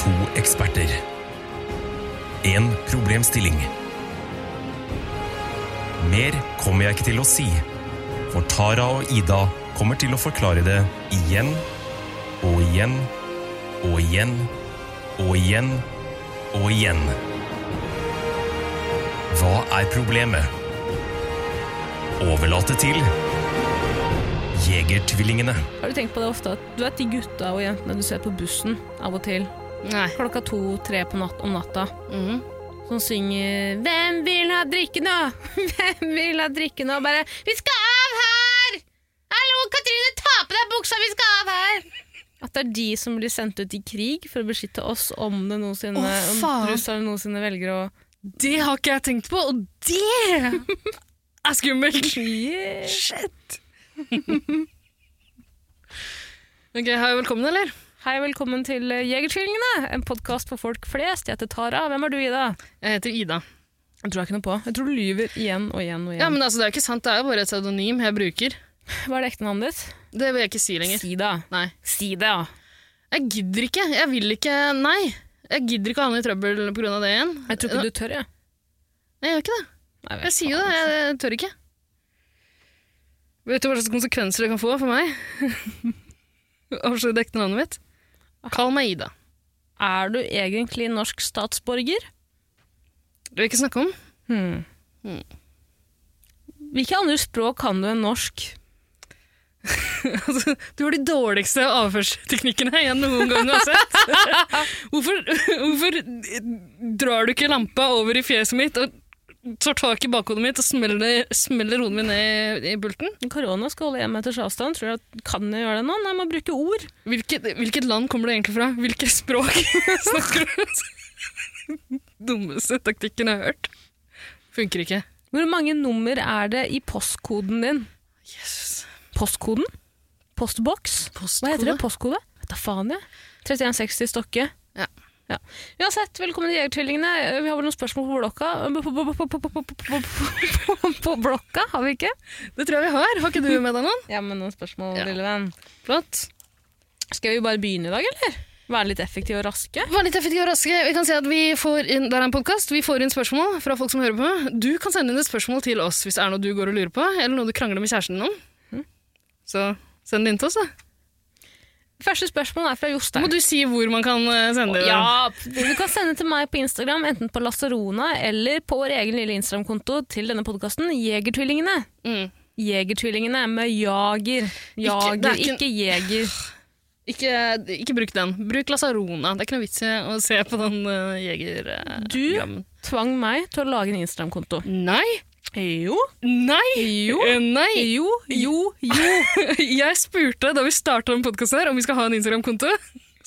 To eksperter. En problemstilling. Mer kommer jeg ikke til å si, for Tara og Ida kommer til å forklare det igjen og igjen og igjen og igjen og igjen. Hva er problemet? Overlate til Jegertvillingene. Har du tenkt på det ofte at du vet de gutta og jentene du ser på bussen av og til Nei. klokka to-tre natt, om natta, Mhm. som synger 'Hvem vil ha drikke nå?' 'Hvem vil ha drikke nå?' Bare 'Vi skal av her!' 'Hallo, Katrine, ta på deg buksa, vi skal av her!' At det er de som blir sendt ut i krig for å beskytte oss om det noensinne Å, om faen. russerne noensinne velger å Det har ikke jeg tenkt på, og det er skummelt! Shit! ok, Hei og velkommen, eller? Hei, velkommen til eh, Jegertvillingene, en podkast for folk flest. Jeg heter Tara. Hvem er du, Ida? Jeg heter Ida. Jeg tror jeg ikke noe på. Jeg tror du lyver igjen og igjen og igjen. Ja, men altså, Det er jo ikke sant, det er jo bare et pseudonym jeg bruker. Hva er det ekte navnet ditt? Det vil jeg ikke si lenger. Si det. Nei. Si det, ja. Jeg gidder ikke. Jeg vil ikke Nei. Jeg gidder ikke å havne i trøbbel pga. det igjen. Jeg tror ikke du tør, jeg. Nei, jeg gjør ikke det. Nei, vet Jeg sier jo faen. det. Jeg, jeg tør ikke. Vet du hva slags konsekvenser det kan få for meg? Avsløre det ekte navnet mitt? Kall meg Ida. Er du egentlig norsk statsborger? Det vil jeg ikke snakke om. Hmm. Hvilke andre språk kan du enn norsk? Altså, du har de dårligste avførsteknikkene jeg noen gang har sett. hvorfor, hvorfor drar du ikke lampa over i fjeset mitt og tar tak i bakhodet mitt og smeller, smeller hodet mitt ned i bulten? Korona skal holde én meters avstand. Tror du at kan jeg gjøre det nå? Nei, man bruker ord. Hvilket, hvilket land kommer du egentlig fra? Hvilket språk snakker du? Dummeste taktikken jeg har hørt. Funker ikke. Hvor mange nummer er det i postkoden din? Jesus. Postkoden? Postboks? Hva heter det? Postkode? Vet da faen, jeg. 3160 Stokke. Ja. Ja. Uansett, velkommen til Jegertvillingene. Vi har vel noen spørsmål på blokka? På- på- på- på- på- på- på- på- på- På blokka, har vi ikke? Det tror jeg vi har. Har ikke du med deg noen? Ja, men noen spørsmål, Ja. lille venn. Flott. Skal vi bare begynne i dag, eller? Være litt effektive og raske? Vær litt effektiv og raske. Vi kan si at vi får inn, der er en podcast. Vi får inn spørsmål fra folk som hører på. Du kan sende inn et spørsmål til oss hvis det er noe du går og lurer på, eller noe du krangler med kjæresten din om. Mm. Så send det inn til oss, da. Første spørsmål er fra Så Jostein. må du si hvor man kan eh, sende det. Ja, du kan sende til meg på Instagram, enten på Lasarona eller på vår egen lille Instagram-konto til denne podkasten, Jegertvillingene. Mm. Jegertvillingene med jager. det er Jager, ikke- ikke, jeger. Ikke, ikke bruk den. Bruk Lasarona. Det er ikke noe vits i å se på den uh, jegergrammen. Du tvang meg til å lage en Instagram-konto. Nei! Jo. Nei! Jo. Eh, Nei! Jo, jo, jo. Jeg spurte da vi starta podkasten her om vi skal ha en Instagram-konto.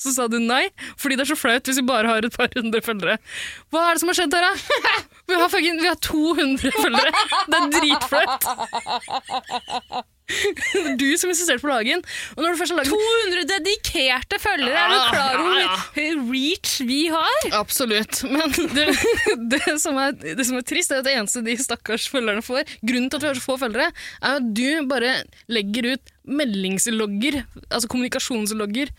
Så sa du nei, fordi det er så flaut hvis vi bare har et par hundre følgere. Hva er det som har skjedd, Tara? Vi har, fucking, vi har 200 følgere! Det er dritflaut! Det er Du som insisterte på lagen. Og når du først har laget 200 dedikerte følgere! Er du klar over Ah, Ja, hvor mye reach vi har? Absolutt. Men det, det, som er, det som er trist, er at det eneste de stakkars følgerne får Grunnen til at vi har så få følgere, er at du bare legger ut meldingslogger, altså kommunikasjonslogger,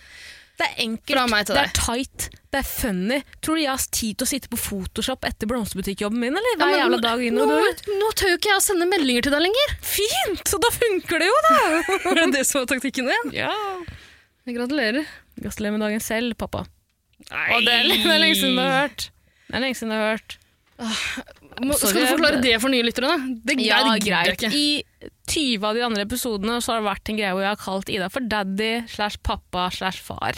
Det er enkelt, Fra meg til det deg. er tight, det er funny. Tror du jeg har tid til å sitte på Photoshop etter blomsterbutikkjobben min, eller? Ja, Hver men jævla nå- dag inn nå, og ut. nå tør jo ikke jeg å sende meldinger til deg lenger. Fint! Så da funker det jo, da! Er det det som var taktikken din? Ja. Gratulerer. Gratulerer med dagen selv, pappa. Nei. Og det er det er lenge siden du har hørt. Det er lenge siden du har hørt. Må, skal du Sorry, forklare det- det for nye lyttere, da? Det, Ja, nei, det gidder jeg greit. ikke. I 20 av de andre episodene så har det vært en greie hvor jeg har kalt Ida for daddy slash pappa slash far.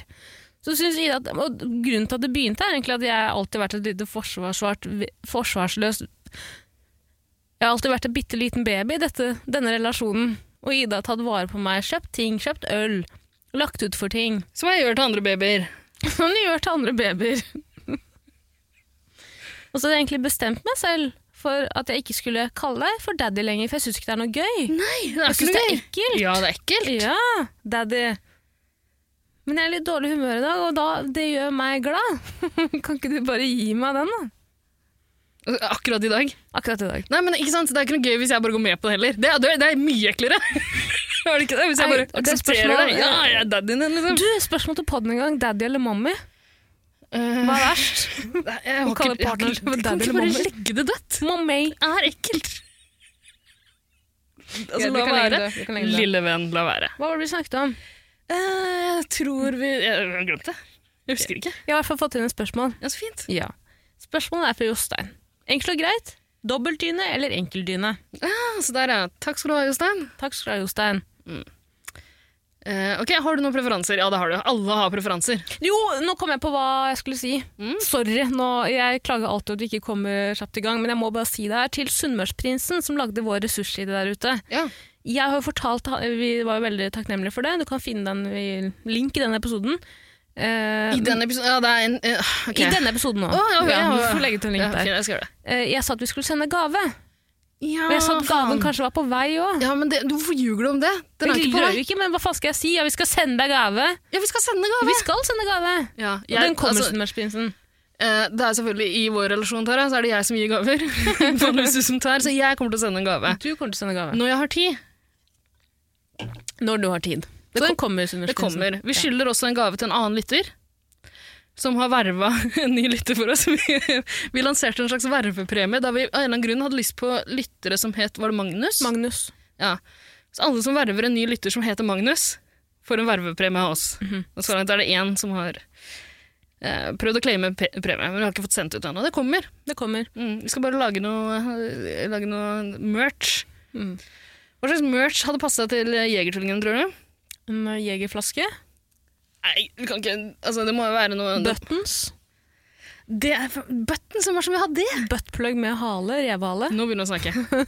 Så synes Ida at, og Grunnen til at det begynte, er egentlig at jeg alltid har vært et lite forsvarsvart, forsvarsløst Jeg har alltid vært en bitte liten baby i dette, denne relasjonen. Og Ida har tatt vare på meg, kjøpt ting, kjøpt øl, lagt ut for ting. Som jeg gjør til andre babyer. Som de gjør til andre babyer. og så hadde jeg egentlig bestemt meg selv for at jeg ikke skulle kalle deg for daddy lenger, for jeg syns ikke det er noe gøy. Nei, det er Jeg ikke syns det noe er gøy. ekkelt. Ja, det er ekkelt. Ja, daddy. Men jeg er i litt dårlig humør i dag, og da, det gjør meg glad. kan ikke du bare gi meg den, da? Akkurat i dag. Akkurat i dag. Nei, men ikke sant? Det er ikke noe gøy hvis jeg bare går med på det heller. Det er, det er- det er mye eklere. er det ikke det? Hvis jeg Nei, bare det er aksepterer spørsmål- det. Ja, jeg er daddyen din, liksom. Du, spørsmål til podden en gang. Daddy eller mommy? Hva er verst? Eh, Jeg har kaller ikke, jeg har partneren ikke, for jeg dad eller kan ikke bare mommy. legge det dødt. Mommy. Det er ekkelt. Ja, Altså, vi la kan legge være. det, vi kan legge det. Lille venn, la være. Hva var det vi snakket om? Eh, Jeg tror vi Jeg har glemt det. Jeg husker ikke. Jeg har i hvert fall fått inn et spørsmål. Ja, så fint. Ja. Spørsmålet er fra Jostein. Enkelt og greit. Dobbeltdyne eller enkeltdyne? Ja, så der, ja. Takk skal du ha, Jostein. Takk skal du ha, Jostein. Eh, ok, Har du noen preferanser? Ja, det har du. Alle har preferanser. Jo, nå kom jeg på hva jeg skulle si. Mm. Sorry, nå, jeg klager alltid over at vi ikke kommer kjapt i gang, men jeg må bare si det her til Sunnmørsprinsen som lagde vår ressursside der ute. Ja. Jeg har jo fortalt, Vi var jo veldig takknemlige for det. Du kan finne den i link i denne episoden. Eh, I den episoden Mm. Ja, det er en eh, ok. I denne episoden nå. Å, ja, ok, ja, du ja. får legge til en link Ja, der. fint, jeg skal gjøre det. Eh, jeg sa at vi skulle sende gave, Ja, og jeg sa at gaven faen. kanskje var på vei òg. Ja, men det, Hvorfor ljuger du om det? Den er Vi ikke på rører vei. jo ikke, men hva faen skal jeg si? Ja, vi skal sende deg gave. Ja, vi skal sende gave! Vi skal sende gave! Ja, Og jeg- den kommer, altså, Sunnmørsprinsen. eh, det er selvfølgelig I vår relasjon Tara, så er det jeg som gir gaver. Vanligvis du som tar, så jeg kommer til å sende en gave. Du kommer til å sende gave. Når jeg har tid. Når du har tid. Det Så kom, kommer, Sunnmørsgrensen. Det kommer. Vi skylder også en gave til en annen lytter. Som har verva en ny lytter for oss. Vi, vi lanserte en slags vervepremie da vi av en eller annen grunn hadde lyst på lyttere som het Var det Magnus? Magnus. Ja. Så alle som verver en ny lytter som heter Magnus, får en vervepremie av oss. Og så langt er det én som har eh, prøvd å claime pe- premie, men vi har ikke fått sendt ut ennå. Det kommer. Det kommer. Mm, vi skal bare lage noe, eh, lage noe merch. Mm. Hva slags merch hadde passa til eh, Jegertvillingene, tror du? En eh, jegerflaske. Nei, vi kan ikke Altså, det må jo være noe Buttons. Det er bøtten som var som vil ha det! Buttplug med hale. Revhale. Nå begynner jeg å snakke.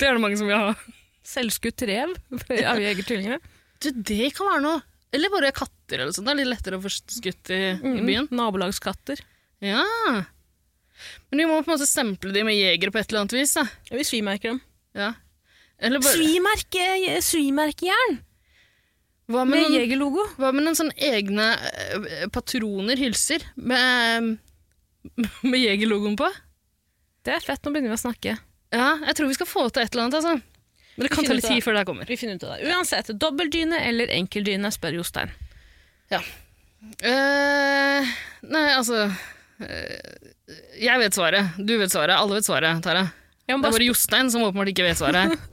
det er det mange som vil ha. Selvskutt rev av jegertvillingene. Du, det kan være noe. Eller bare katter eller sånt. Det er litt lettere å få skutt i, i byen. Mm. Nabolagskatter. Ja. Men vi må på en måte stemple de med jeger på et eller annet vis, da. Ja, vi svimerker dem. Ja. Eller bare, Svimerke, svimerkejern hva, med med noen, jegerlogo. hva med noen sånne egne eh, patroner, hylser, med, eh, med jegerlogoen på? Det er fett. Nå begynner vi å snakke. Ja, jeg tror vi skal få til et eller annet, altså. Men det Vi kan ta finner litt ut av tid før det her kommer. Vi finner ut av det. Uansett, dobbeltdyne eller enkeltdyne, spør Jostein. Eh, nei, altså eh, Jeg vet svaret. Du vet svaret. Alle vet svaret, Tara. Jeg må Det er bare bare Jostein som åpenbart ikke vet svaret. sp-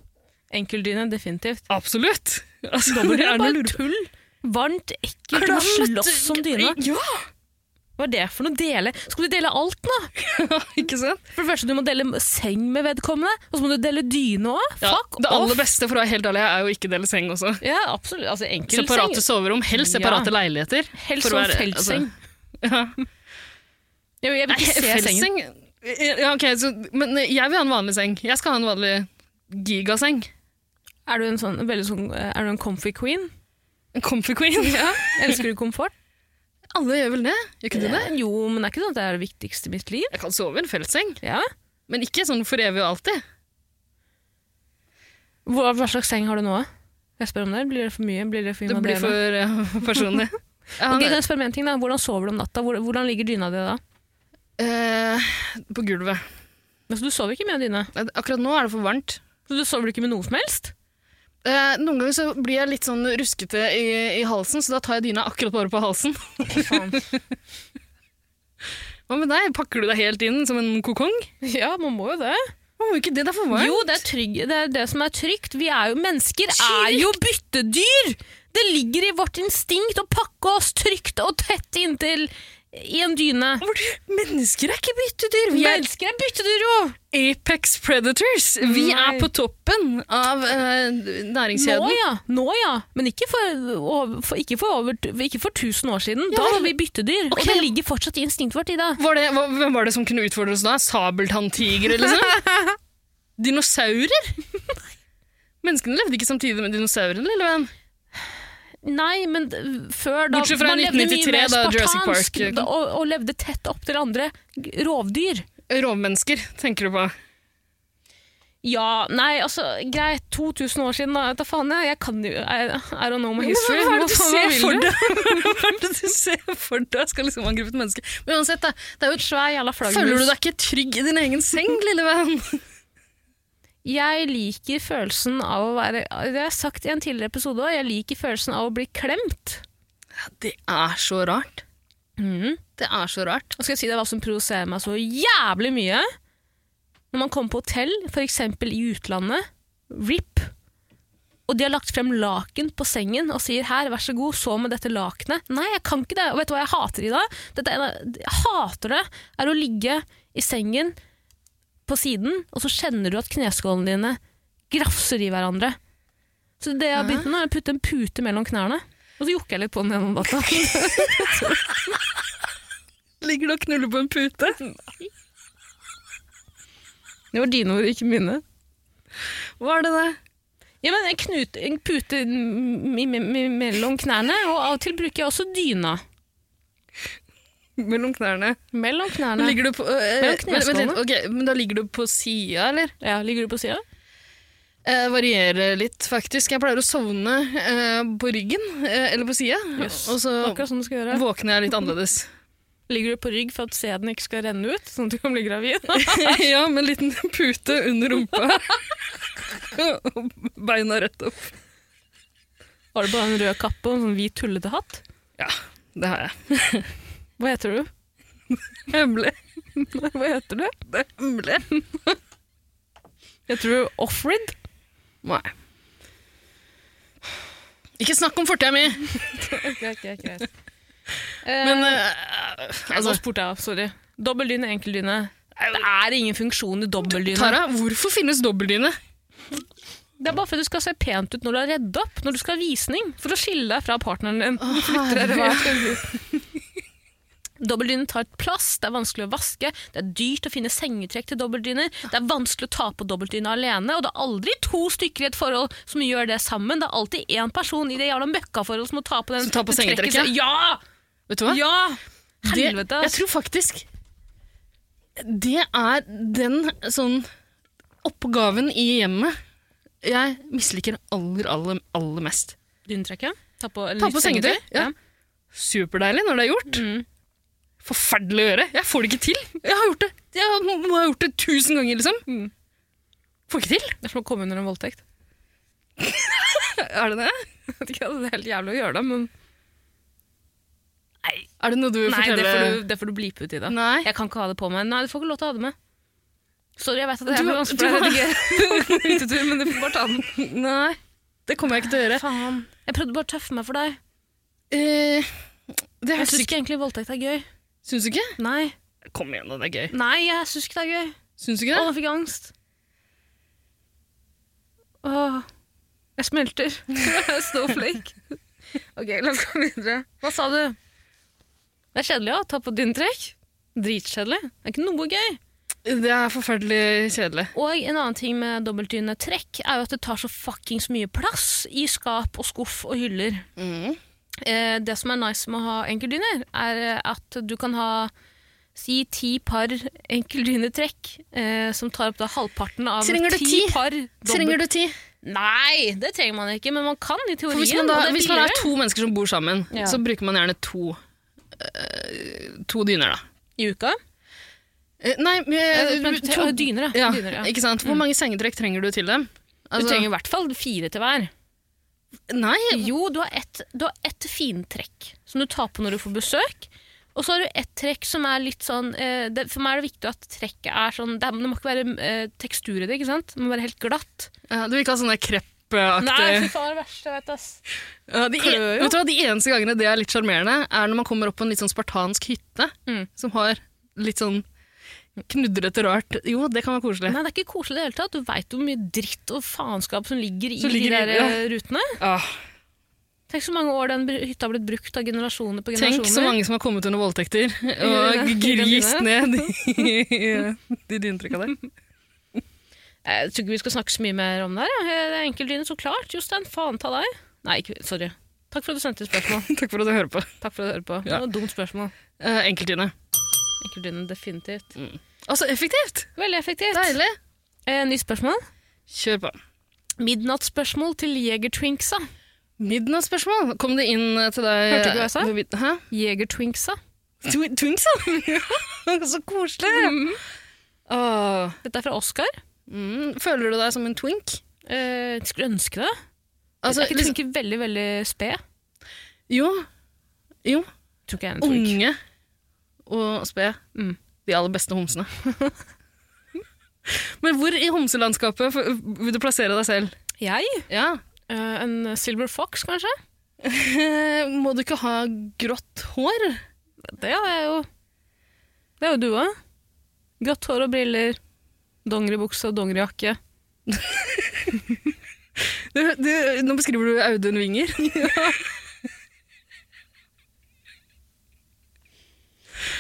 Enkeltdyne, definitivt. Absolutt! Altså, Dobbeltdyne er er noe bare tull. Varmt, ekkelt, du må slåss som dyne. Ja, Hva er det for noe dele? Skal du dele alt nå? ikke sant? For det første, du må dele seng med vedkommende, og så må du dele dyne òg. Ja, Fuck det aller off! beste for å være helt ærlig er jo ikke dele seng også. Ja, absolutt. Altså, enkel Separate seng. soverom, helst separate leiligheter. Helst for å sånn være- feltseng. Altså, ja. Jeg, jeg vil Nei, ikke se sengen. feltseng Eh, ja, ok, så, Men eh, jeg vil ha en vanlig seng. Jeg skal ha en vanlig gigaseng. Er du en, sånn, veldig sånn, er du en comfy queen? En comfy queen. Elsker du komfort? Alle gjør vel det? Gjør ikke du det? Jo, men det er ikke sånn at det er det viktigste i mitt liv. Jeg kan sove i en feltseng, Ja. men ikke sånn for evig og alltid. Hva, hva slags seng har du nå? Jeg spør om det. Blir det for mye? Blir det for Det blir invaderende? for ja, personlig. Ja, Ok, kan jeg spørre om en ting da? Hvordan sover du om natta? Hvor- Hvordan ligger dyna di da? eh, på gulvet. Altså, du sover ikke med en dyne. Nei, Akkurat nå er det for varmt. Så du sover ikke med noe som helst? Eh, noen ganger så blir jeg litt sånn ruskete i, i halsen, så da tar jeg dyna akkurat bare på halsen. Faen. Hva med deg? Pakker du deg helt inn som en kokong? Ja, man må jo det. Å, ikke det, det er for varmt. Jo, det er, trygg, det er det som er trygt. Vi er jo mennesker, er jo byttedyr! Det ligger i vårt instinkt å pakke oss trygt og tett inntil i en dyne. Hvor du- Mennesker er ikke byttedyr. Vi er Mennesker er byttedyr, jo! apex predators. Vi Nei. er på toppen av eh, Nå næringskjeden. ja, nå ja. men ikke for, over- for, ikke for, over, ikke for tusen år siden. Ja, da vel. var vi byttedyr, Ok. og det ligger fortsatt i instinktet vårt i dag. Var det, hva, hvem var det som kunne utfordre oss da? Sabeltanntigre, liksom? Dinosaurer? Menneskene levde ikke samtidig med dinosaurene, lille venn. Nei, men d- før da Bortsett fra Man levde mye 1993 mer da Jurassic spartansk Park kom. da, og, og levde tett opp til andre g- rovdyr. Rovmennesker, tenker du på. Ja, nei, altså, greit, 2000 år siden, da, vet du faen jeg, jeg kan jo, I, I don't know my history. Hva er det du faen- ser vil for du? deg? Hva er det du ser for deg? Skal liksom angripe et menneske. Men uansett, da, det er jo Svær jævla et- flaggermus. Føler du deg ikke trygg i din egen seng, lille venn? Jeg liker følelsen av å være, det har jeg sagt i en tidligere episode også, jeg liker følelsen av å bli klemt. Det er så rart. Mhm. Det er så rart. Og skal jeg si deg hva som provoserer meg så jævlig mye? Når man kommer på hotell, f.eks. i utlandet, RIP, og de har lagt frem laken på sengen og sier 'her, vær så god, sov med dette lakenet'. Nei, jeg kan ikke det. Og vet du hva jeg hater i dag? Dette er en av- jeg hater det, er å ligge i sengen på siden, og så kjenner du at kneskålene dine grafser i hverandre. Så det jeg har begynt med, er å putte en pute mellom knærne. Og så jokker jeg litt på den gjennom natta. Ligger du og knuller på en pute? Det var dine ord, ikke mine. Hva er det det? Ja, men en, knut, en pute m- i- m- mellom knærne, og av og til bruker jeg også dyna. Mellom knærne. Mellom knærne. Men ligger du på eh, Mellom vent- vent litt, kneskålene. ok, men da ligger du på sida, eller? ja, ligger du på sida? Eh, varierer litt, faktisk. Jeg pleier å sovne eh, på ryggen, eh, eller på sida. Yes. Og så Akkurat som du skal gjøre. våkner jeg litt annerledes. Ligger du på rygg for at sæden ikke skal renne ut, sånn at du kan bli gravid? ja, med en liten pute under rumpa. Og Beina rett opp. Har du bare en rød kappe og en sånn hvit tullete hatt? Ja, det har jeg. Hva heter du? Hemmelig. Hva heter du? Det er hemmelig. Heter du Offrid? Nei. Ikke snakk om fortida mi! Greit, greit, greit. Men Men eh, altså, altså, spurte jeg, sorry. Dobbeldyne, enkeldyne. Det er ingen funksjon i dobbeldyne. Tara, hvorfor finnes dobbeltdyne? Det er bare for at du skal se pent ut når du har redd opp, når du skal ha visning, for å skille deg fra partneren din. Du flytter dere hver. Dobbeltdyne tar plass, det er vanskelig å vaske, det er dyrt å finne sengetrekk til dobbeltdyner, det er vanskelig å ta på dobbeltdyne alene, og det er aldri to stykker i et forhold som gjør det sammen. Det er alltid én person i det jævla møkkaforholdet som må ta på den. Som tar på du trekker sengetrekket? seg- Ja! Vet du hva? Ja! Det- Helvete, Jeg ass. tror faktisk det er den sånn oppgaven i hjemmet jeg misliker aller, aller, aller mest. Dynetrekket? Ta på, Ta på sengetøy, ja. Superdeilig når det er gjort. Mm. Forferdelig å gjøre. Jeg får det ikke til. Jeg har gjort det Jeg har- må ha gjort det tusen ganger, liksom. Mm. Får ikke til. Det er som å komme under en voldtekt. Er det det? Jeg vet ikke, Det er helt jævlig å gjøre det, men Er det noe du vil Nei, fortelle? det får du, det får du blipe ut i, da. Nei. Jeg kan ikke ha det på meg. Nei, du får ikke lov til å ha det med. Sorry, jeg vet at det Du- er vanskelig du for deg å har- redigere på utetur, men du får bare ta den. Nei. Det kommer jeg ikke til å gjøre. Faen. Jeg prøvde bare å tøffe meg for deg. Eh, det Jeg syns hørtes ikke ikke egentlig voldtekt er gøy. Syns du ikke? Nei, Kom igjen, da. Det er gøy. Nei jeg syns ikke det er gøy. Syns Å, du ikke det? nå fikk jeg angst. Åh, jeg smelter. Snowflake. Ok, la oss gå videre. Hva sa du? Det er kjedelig å ta på dyntrekk. Dritkjedelig. Det er ikke noe gøy. Det er forferdelig kjedelig. Og en annen ting med dobbeltdyne trekk er jo at det tar så fuckings mye plass i skap og skuff og hyller. Eh, det som er nice med å ha enkeltdyner, er eh, at du kan ha si ti par enkeltdynetrekk eh, som tar opp da halvparten av Trenger du ti? par dobbelt... Trenger du ti? Nei, det trenger man ikke, men man kan i For teorien. hvis man, da, og det er hvis man er billigere. to mennesker som bor sammen, Ja. så bruker man gjerne to, eh, to dyner, da. I uka? Eh, nei, men, Eh, men, to- to... Dyner, ja. ja, Dyner, ja. Ikke sant? Hvor mange sengetrekk trenger du til dem? Du Altså- trenger i hvert fall fire til hver. Nei, Jo, du har ett et fintrekk som du tar på når du får besøk. Og så har du ett trekk som er litt sånn eh, det, For meg er det viktig at trekket er sånn Det, er, det må ikke være eh, tekstur i det, ikke sant? Det må være helt glatt. ja, du vil ikke ha sånn Nei, fy sånne kreppaktige faen, det er det verste jeg vet, ass. ja, de, en, klør jo. Vet du hva, de eneste gangene det er litt sjarmerende, er når man kommer opp på en litt sånn spartansk hytte Mm. som har litt sånn knudrete rart. Jo, det kan være koselig. Nei, det er ikke koselig i det hele tatt. Du veit hvor mye dritt og faenskap som ligger i Som ligger de i der eh, rutene. Ah, Tenk så mange år den br- hytta har blitt brukt av generasjoner på generasjoner. tenk så mange som har kommet under voldtekter og Ja, grist i ned i, i, i dynetrykka der. Jeg tror ikke vi skal snakke så mye mer om det her. Ja. Det er enkeltdyne, så klart. Jostein, faen ta deg. Nei, ikke, sorry. Takk for at du sendte inn spørsmål. Takk for at du hører på. Takk for at du hører på. Ja. Det var et dumt spørsmål. Eh, Enkeltdyne. Enkeltdyne, definitivt. Altså effektivt! Veldig effektivt. Deilig! Eh, Nytt spørsmål. Kjør på. Midnattsspørsmål til Jegertwinksa. Midnattsspørsmål. Kom det inn eh, til deg Hørte du ikke hva jeg sa? forbi- Hæ? Jegertwinksa. Tw- Twinks, ja! Så koselig! Mm. Åh. Dette er fra Oskar. Mm. Føler du deg som en twink? Eh, skulle ønske det. Altså, jeg liksom, tenker veldig, veldig sped. jo. Jo. Tror ikke jeg er en tolk. Unge og sped. Mm. De aller beste homsene. Men hvor i homselandskapet f- vil du plassere deg selv? Jeg? Ja. Eh, en silver fox, kanskje? Eh, Må du ikke ha grått hår? Det er jo Det er jo du òg. Grått hår og briller. Dongeribukse og dongerijakke. Du, du, nå beskriver du Audun Winger.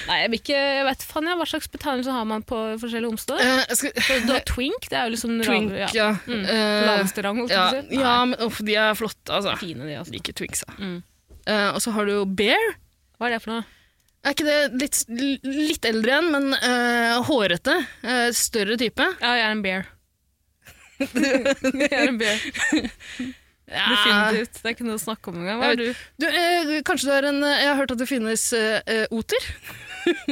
Nei, jeg vil ikke Jeg vet faen jeg, hva slags betegnelse har man på forskjellige homser. Eh, skal, Du har twink, det er jo liksom twink, ja. ja. Mm. Eh, Laveste rang, holdt ja, jeg på å si. ja, men uff, de er flotte, altså. Nei, Fine, de, altså. Liker twinks, da. Mm. Eh, og så har du jo bear. Hva er det for noe? Er ikke det litt, litt eldre igjen, men eh, hårete? eh, større type? Ja, jeg er en bear. jeg er en bear. Ja. Ah. Definitivt. Det er ikke noe å snakke om engang. Hva er du? Du, eh, du- kanskje du er en eh, Jeg har hørt at det finnes eh, eh, oter.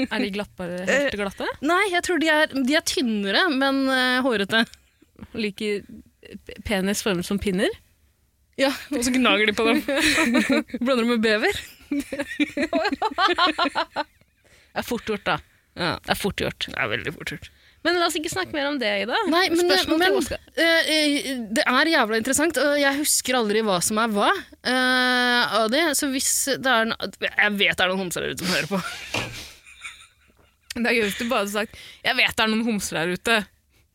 Er de glattbare, helt glatte? Nei, jeg tror de er, de er tynnere, men eh, hårete. Liker p- penis formet som pinner? Ja, Og så gnager de på dem. Blander dem med bever. Det er fort gjort, da. Ja, Det er fort gjort. Det er veldig fort gjort. Men la oss ikke snakke mer om det, Ida. Nei, men, Spørsmål men til Oskar. eh, eh, det er jævla interessant, og jeg husker aldri hva som er hva eh, av det. Så hvis det er en, Jeg vet det er noen homser der ute som hører på. Det er gøy hvis du bare hadde sagt 'jeg vet det er noen homser der ute'.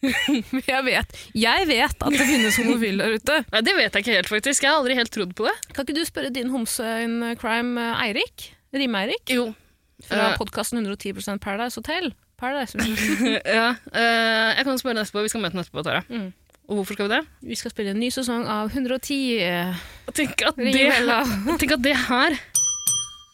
jeg, vet. jeg vet at det finnes homofile der ute. Nei, Det vet jeg ikke helt, faktisk. Jeg har aldri helt trodd på det. Kan ikke du spørre din homse-crime eh, Eirik? Rime-Eirik? Jo. Fra Eh. podkasten 110 Paradise Hotel. Paradise. ja, eh, jeg kan spørre henne etterpå. Vi skal møte henne etterpå, Tara. Mm. Og hvorfor skal vi det? Vi skal spille en ny sesong av 110. eh, Tenk at Ring det, Bella. tenk at det her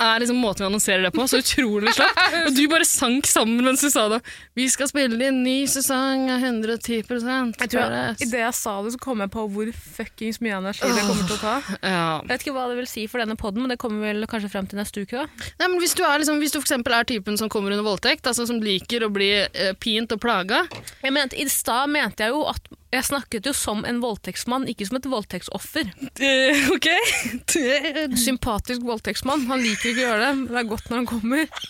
er liksom måten vi annonserer det på. Så utrolig slapp. Og du bare sank sammen mens du sa det. Vi skal spille inn ny sesong av 110 Jeg tror jeg- Idet jeg sa det, så kom jeg på hvor fuckings mye energi det kommer til å ta. Ja. Jeg vet ikke hva det vil si for denne podden, men det kommer vel kanskje frem til neste uke. da. Nei, men hvis du, er liksom, hvis du for eksempel er typen som kommer under voldtekt, altså som liker å bli eh, pint og plaga Jeg mente, I stad mente jeg jo at jeg snakket jo som en voldtektsmann, ikke som et voldtektsoffer. Ok. Sympatisk voldtektsmann. Han liker ikke å gjøre det, men det er godt når han kommer.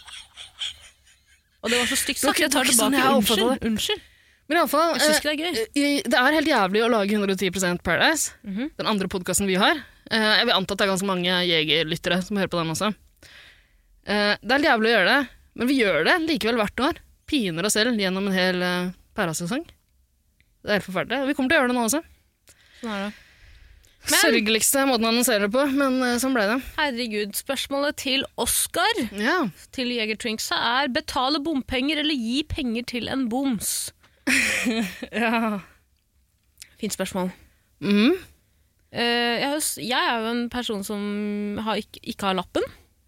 Og det var så stygt sagt. Det var ikke- Jeg tar det var ikke sånn tilbake. jeg oppfattet unnskyld. unnskyld. Men iallfall Jeg syns ikke det er gøy. Eh, Det er helt jævlig å lage 110 Paradise, Mhm. den andre podkasten vi har. Eh, jeg vil anta at det er ganske mange jegerlyttere som hører på den også. Eh, det er helt jævlig å gjøre det, men vi gjør det likevel hvert år. Piner oss selv gjennom en hel uh, Paradise-sesong. Det er helt forferdelig. og Vi kommer til å gjøre det nå også. Sånn er det. Men- Sørgeligste måten å annonsere det på, men eh, sånn ble det. Herregud, spørsmålet til Oskar Ja. til Jegertrinksa er betale bompenger eller gi penger til en boms? ja. Fint spørsmål. Mm. Eh, jeg, har jo s- jeg er jo en person som har ikke, ikke har lappen,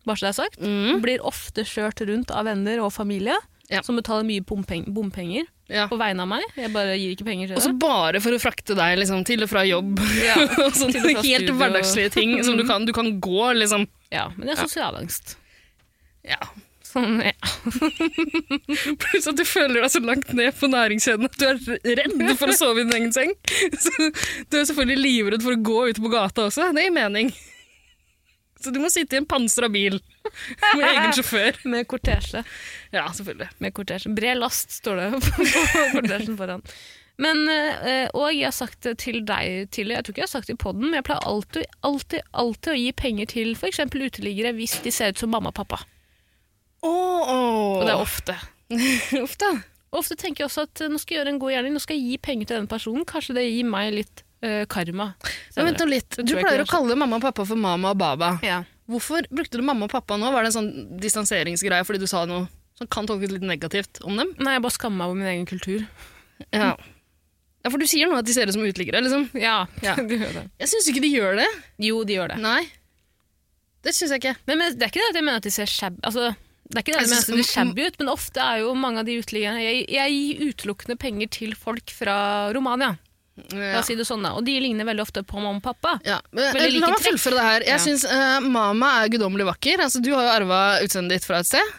bare så det er sagt. Mm. Blir ofte kjørt rundt av venner og familie Ja. som betaler mye bompeng bompenger Ja. på vegne av meg. Jeg bare gir ikke penger Og til så det. bare for å frakte deg liksom, til og fra jobb. Ja, og sånne til og fra helt studio. hverdagslige ting som du kan, du kan gå, liksom. Ja, men jeg har sosialangst. Ja. Sånn, ja. Pluss at du føler deg så langt ned på næringskjeden at du er redd for å sove i din egen seng. Så du er selvfølgelig livredd for å gå ute på gata også. Det gir mening. Så du må sitte i en pansra bil med egen sjåfør. Med kortesje. Ja, selvfølgelig. Med kortesje. Bred last, står det på på kortesjen foran. Men, eh, og jeg har sagt det til deg tidligere, jeg tror ikke jeg har sagt det i podden, men jeg pleier alltid, alltid, alltid å gi penger til f.eks. uteliggere hvis de ser ut som mamma og pappa. Og det er ofte. ofte. ofte. Og Ofte tenker jeg også at eh, nå skal jeg gjøre en god gjerning, nå skal jeg gi penger til denne personen. Kanskje det gir meg litt eh, karma. Men senere. vent nå litt. Du tror jeg pleier ikke å kalle mamma og pappa for mama og baba. Ja. Hvorfor brukte du mamma og pappa nå? Var det en sånn distanseringsgreie fordi du sa noe som kan tolkes litt negativt om dem? Nei, jeg bare skammer meg over min egen kultur. Ja. ja, for du sier nå at de ser ut som uteliggere, liksom. Ja, Ja. de gjør det. Jeg syns ikke de gjør det. Jo, de gjør det. Nei. Det syns jeg ikke. Men, men det er ikke det at jeg mener at de ser shabby altså, Det er ikke det at jeg Jeg mener at de synes- ser shabby ut, men ofte er jo mange av de uteliggerne jeg, jeg gir utelukkende penger til folk fra Romania, la Ja. oss si det sånn, da. Og de ligner veldig ofte på mamma og pappa. Ja. Men, eh, Veldig like la meg trekk. fullføre det her. Jeg Ja. syns mama er guddommelig vakker. Altså, du har jo arva utseendet ditt fra et sted.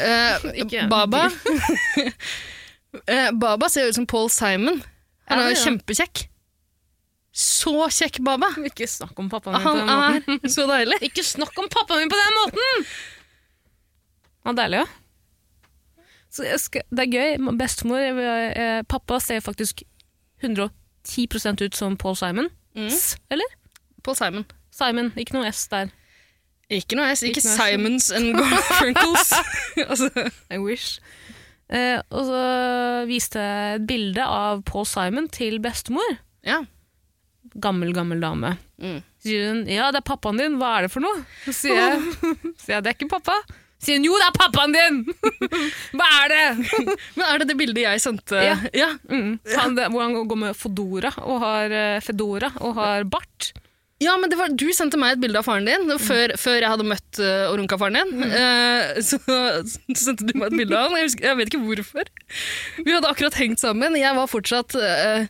Eh, Ikke baba Eh, Baba ser jo ut som Paul Simon. Han Ja, er jo ja. kjempekjekk. Så kjekk Baba! Ikke snakk om pappaen min på den Han måten. er så deilig. Ikke snakk om pappaen min på den måten! Ja, deilig, ja. Så jeg skal, det er gøy. Bestemor jeg, vil- eh, Pappa ser faktisk 110 ut som Paul Simon. S, eller? Paul Simon. Simon, ikke noe S der. Ikke noe S. Ikke, Ikke noe S. Simons and Garfunkels. altså, I wish. Eh, og så viste jeg et bilde av Paul Simon til bestemor. ja. Gammel, gammel dame. Mm. Sier hun 'ja, det er pappaen din, hva er det for noe?' Så sier jeg, sier jeg 'det er ikke pappa'. Sier hun 'jo, det er pappaen din'! Hva er det? Men er det det bildet jeg sendte? Ja. ja. Mm. Han, det, hvor han går med fedora og har, eh, fedora og har bart. Ja, men det var, Du sendte meg et bilde av faren din det var før, før jeg hadde møtt eh, og runka faren din. Eh, så, så sendte du meg et bilde av han. Jeg, husker, jeg vet ikke hvorfor. Vi hadde akkurat hengt sammen. Jeg var fortsatt eh,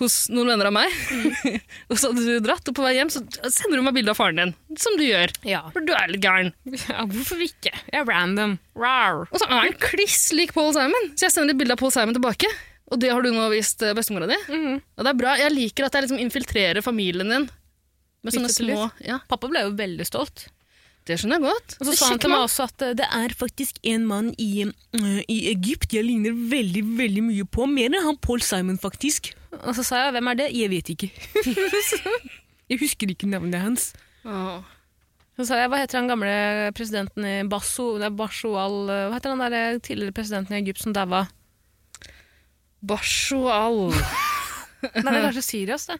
hos noen venner av meg. og så hadde du dratt, og på vei hjem så sender du meg bilde av faren din. Som du gjør. Ja. For du er litt gæren. Hvorfor ikke? Jeg er random. Rar. Og så er han kliss lik Paul Simon. Så jeg sender et bilde av Paul Simon tilbake. Og det har du nå vist eh, bestemora di. Og det er bra. Jeg liker at jeg liksom infiltrerer familien din med sånne Litt etter litt. små ja, Pappa ble jo veldig stolt. Det skjønner jeg godt. Og så sa han til meg også at eh, det er faktisk en mann i, eh, i Egypt jeg ligner veldig veldig mye på. Mer enn han Paul Simon, faktisk. Og så sa jeg hvem er det? Jeg vet ikke. jeg husker ikke navnet hans. Åh. Så sa jeg hva heter han gamle presidenten i Basso, det er Basho al Hva heter han der eh, tidligere presidenten i Egypt som daua? Bashoal. Nei, det er kanskje Syrias, det.